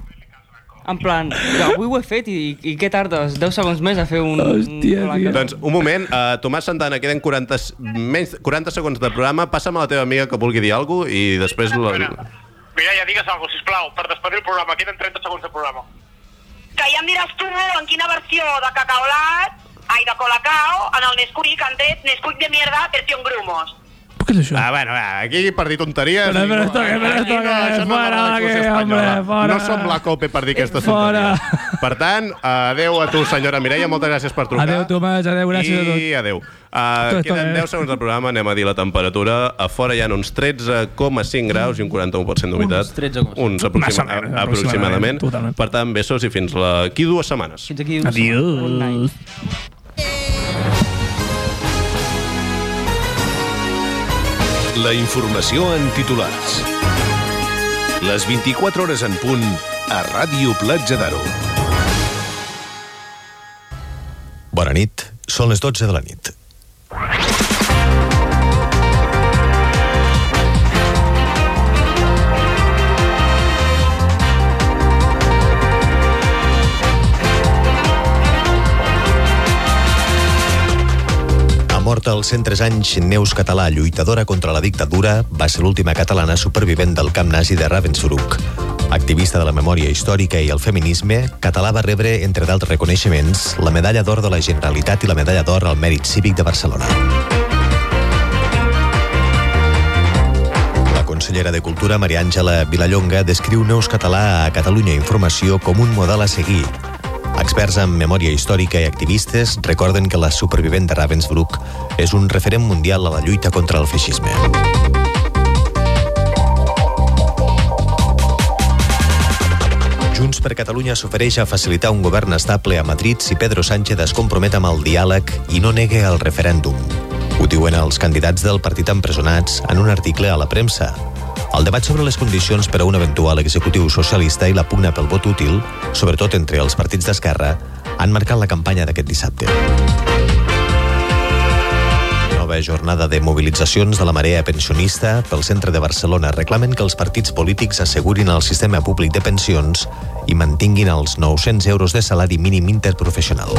[SPEAKER 7] En plan, ja, avui ho he fet i, i què tardes? 10 segons més a fer un,
[SPEAKER 2] Hòstia,
[SPEAKER 7] un
[SPEAKER 2] tio.
[SPEAKER 7] colacao.
[SPEAKER 1] Doncs un moment, uh, Tomàs Santana, queden 40, s- menys, 40 segons de programa, passa'm a la teva amiga que vulgui dir alguna cosa i després... La...
[SPEAKER 8] Mira, ja digues alguna cosa, sisplau, per despedir el programa. Queden 30 segons de programa.
[SPEAKER 9] Que ja em diràs tu en quina versió de cacaolat, ai, de colacao, en el Nesquik han tret Nesquik de mierda versión grumos.
[SPEAKER 2] Què és això?
[SPEAKER 10] Ah, bueno, va, aquí per dir tonteries...
[SPEAKER 2] Però, però,
[SPEAKER 10] digo,
[SPEAKER 2] esto que- però, esto
[SPEAKER 10] aquí no,
[SPEAKER 2] que-
[SPEAKER 10] això no va
[SPEAKER 2] fora,
[SPEAKER 10] de l'exclusió
[SPEAKER 2] que, hombre,
[SPEAKER 10] espanyola.
[SPEAKER 2] fora.
[SPEAKER 10] No som la COPE per dir aquestes
[SPEAKER 2] Fora.
[SPEAKER 10] tonteries. Per tant, adeu a tu, senyora Mireia, moltes gràcies per trucar.
[SPEAKER 2] Adéu, Tomàs, adéu, gràcies a tots.
[SPEAKER 1] I adeu.
[SPEAKER 2] Tot,
[SPEAKER 1] Uh,
[SPEAKER 2] tot,
[SPEAKER 1] queden
[SPEAKER 2] eh?
[SPEAKER 1] 10 segons del programa, anem a dir la temperatura. A fora hi ha uns 13,5 graus i un 41% d'humitat.
[SPEAKER 3] Uns 13,5.
[SPEAKER 1] Uns aproxima
[SPEAKER 2] Massa
[SPEAKER 1] aproximadament.
[SPEAKER 2] menys, aproximadament,
[SPEAKER 1] aproximadament.
[SPEAKER 2] totalment.
[SPEAKER 1] Per tant, besos i fins la... aquí dues setmanes.
[SPEAKER 3] Fins aquí.
[SPEAKER 2] Adiós.
[SPEAKER 5] La informació en titulars. Les 24 hores en punt a Ràdio Platja d'Aro.
[SPEAKER 11] Bona nit. Són les 12 de la nit. Ha mort als 103 anys Neus Català, lluitadora contra la dictadura, va ser l'última catalana supervivent del camp nazi de Ravensbrück. Activista de la memòria històrica i el feminisme, Català va rebre, entre d'altres reconeixements, la Medalla d'Or de la Generalitat i la Medalla d'Or al Mèrit Cívic de Barcelona. La consellera de Cultura, Maria Àngela Vilallonga, descriu Neus Català a Catalunya Informació com un model a seguir. Experts en memòria històrica i activistes recorden que la supervivent de Ravensbrück és un referent mundial a la lluita contra el feixisme. Junts per Catalunya s'ofereix a facilitar un govern estable a Madrid si Pedro Sánchez es compromet amb el diàleg i no nega el referèndum. Ho diuen els candidats del partit empresonats en un article a la premsa. El debat sobre les condicions per a un eventual executiu socialista i la pugna pel vot útil, sobretot entre els partits d'esquerra, han marcat la campanya d'aquest dissabte. Nova jornada de mobilitzacions de la marea pensionista pel centre de Barcelona reclamen que els partits polítics assegurin el sistema públic de pensions i mantinguin els 900 euros de salari mínim interprofessional.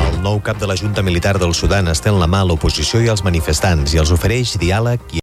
[SPEAKER 11] El nou cap de la Junta Militar del Sudan estén la mà a l'oposició i als manifestants i els ofereix diàleg i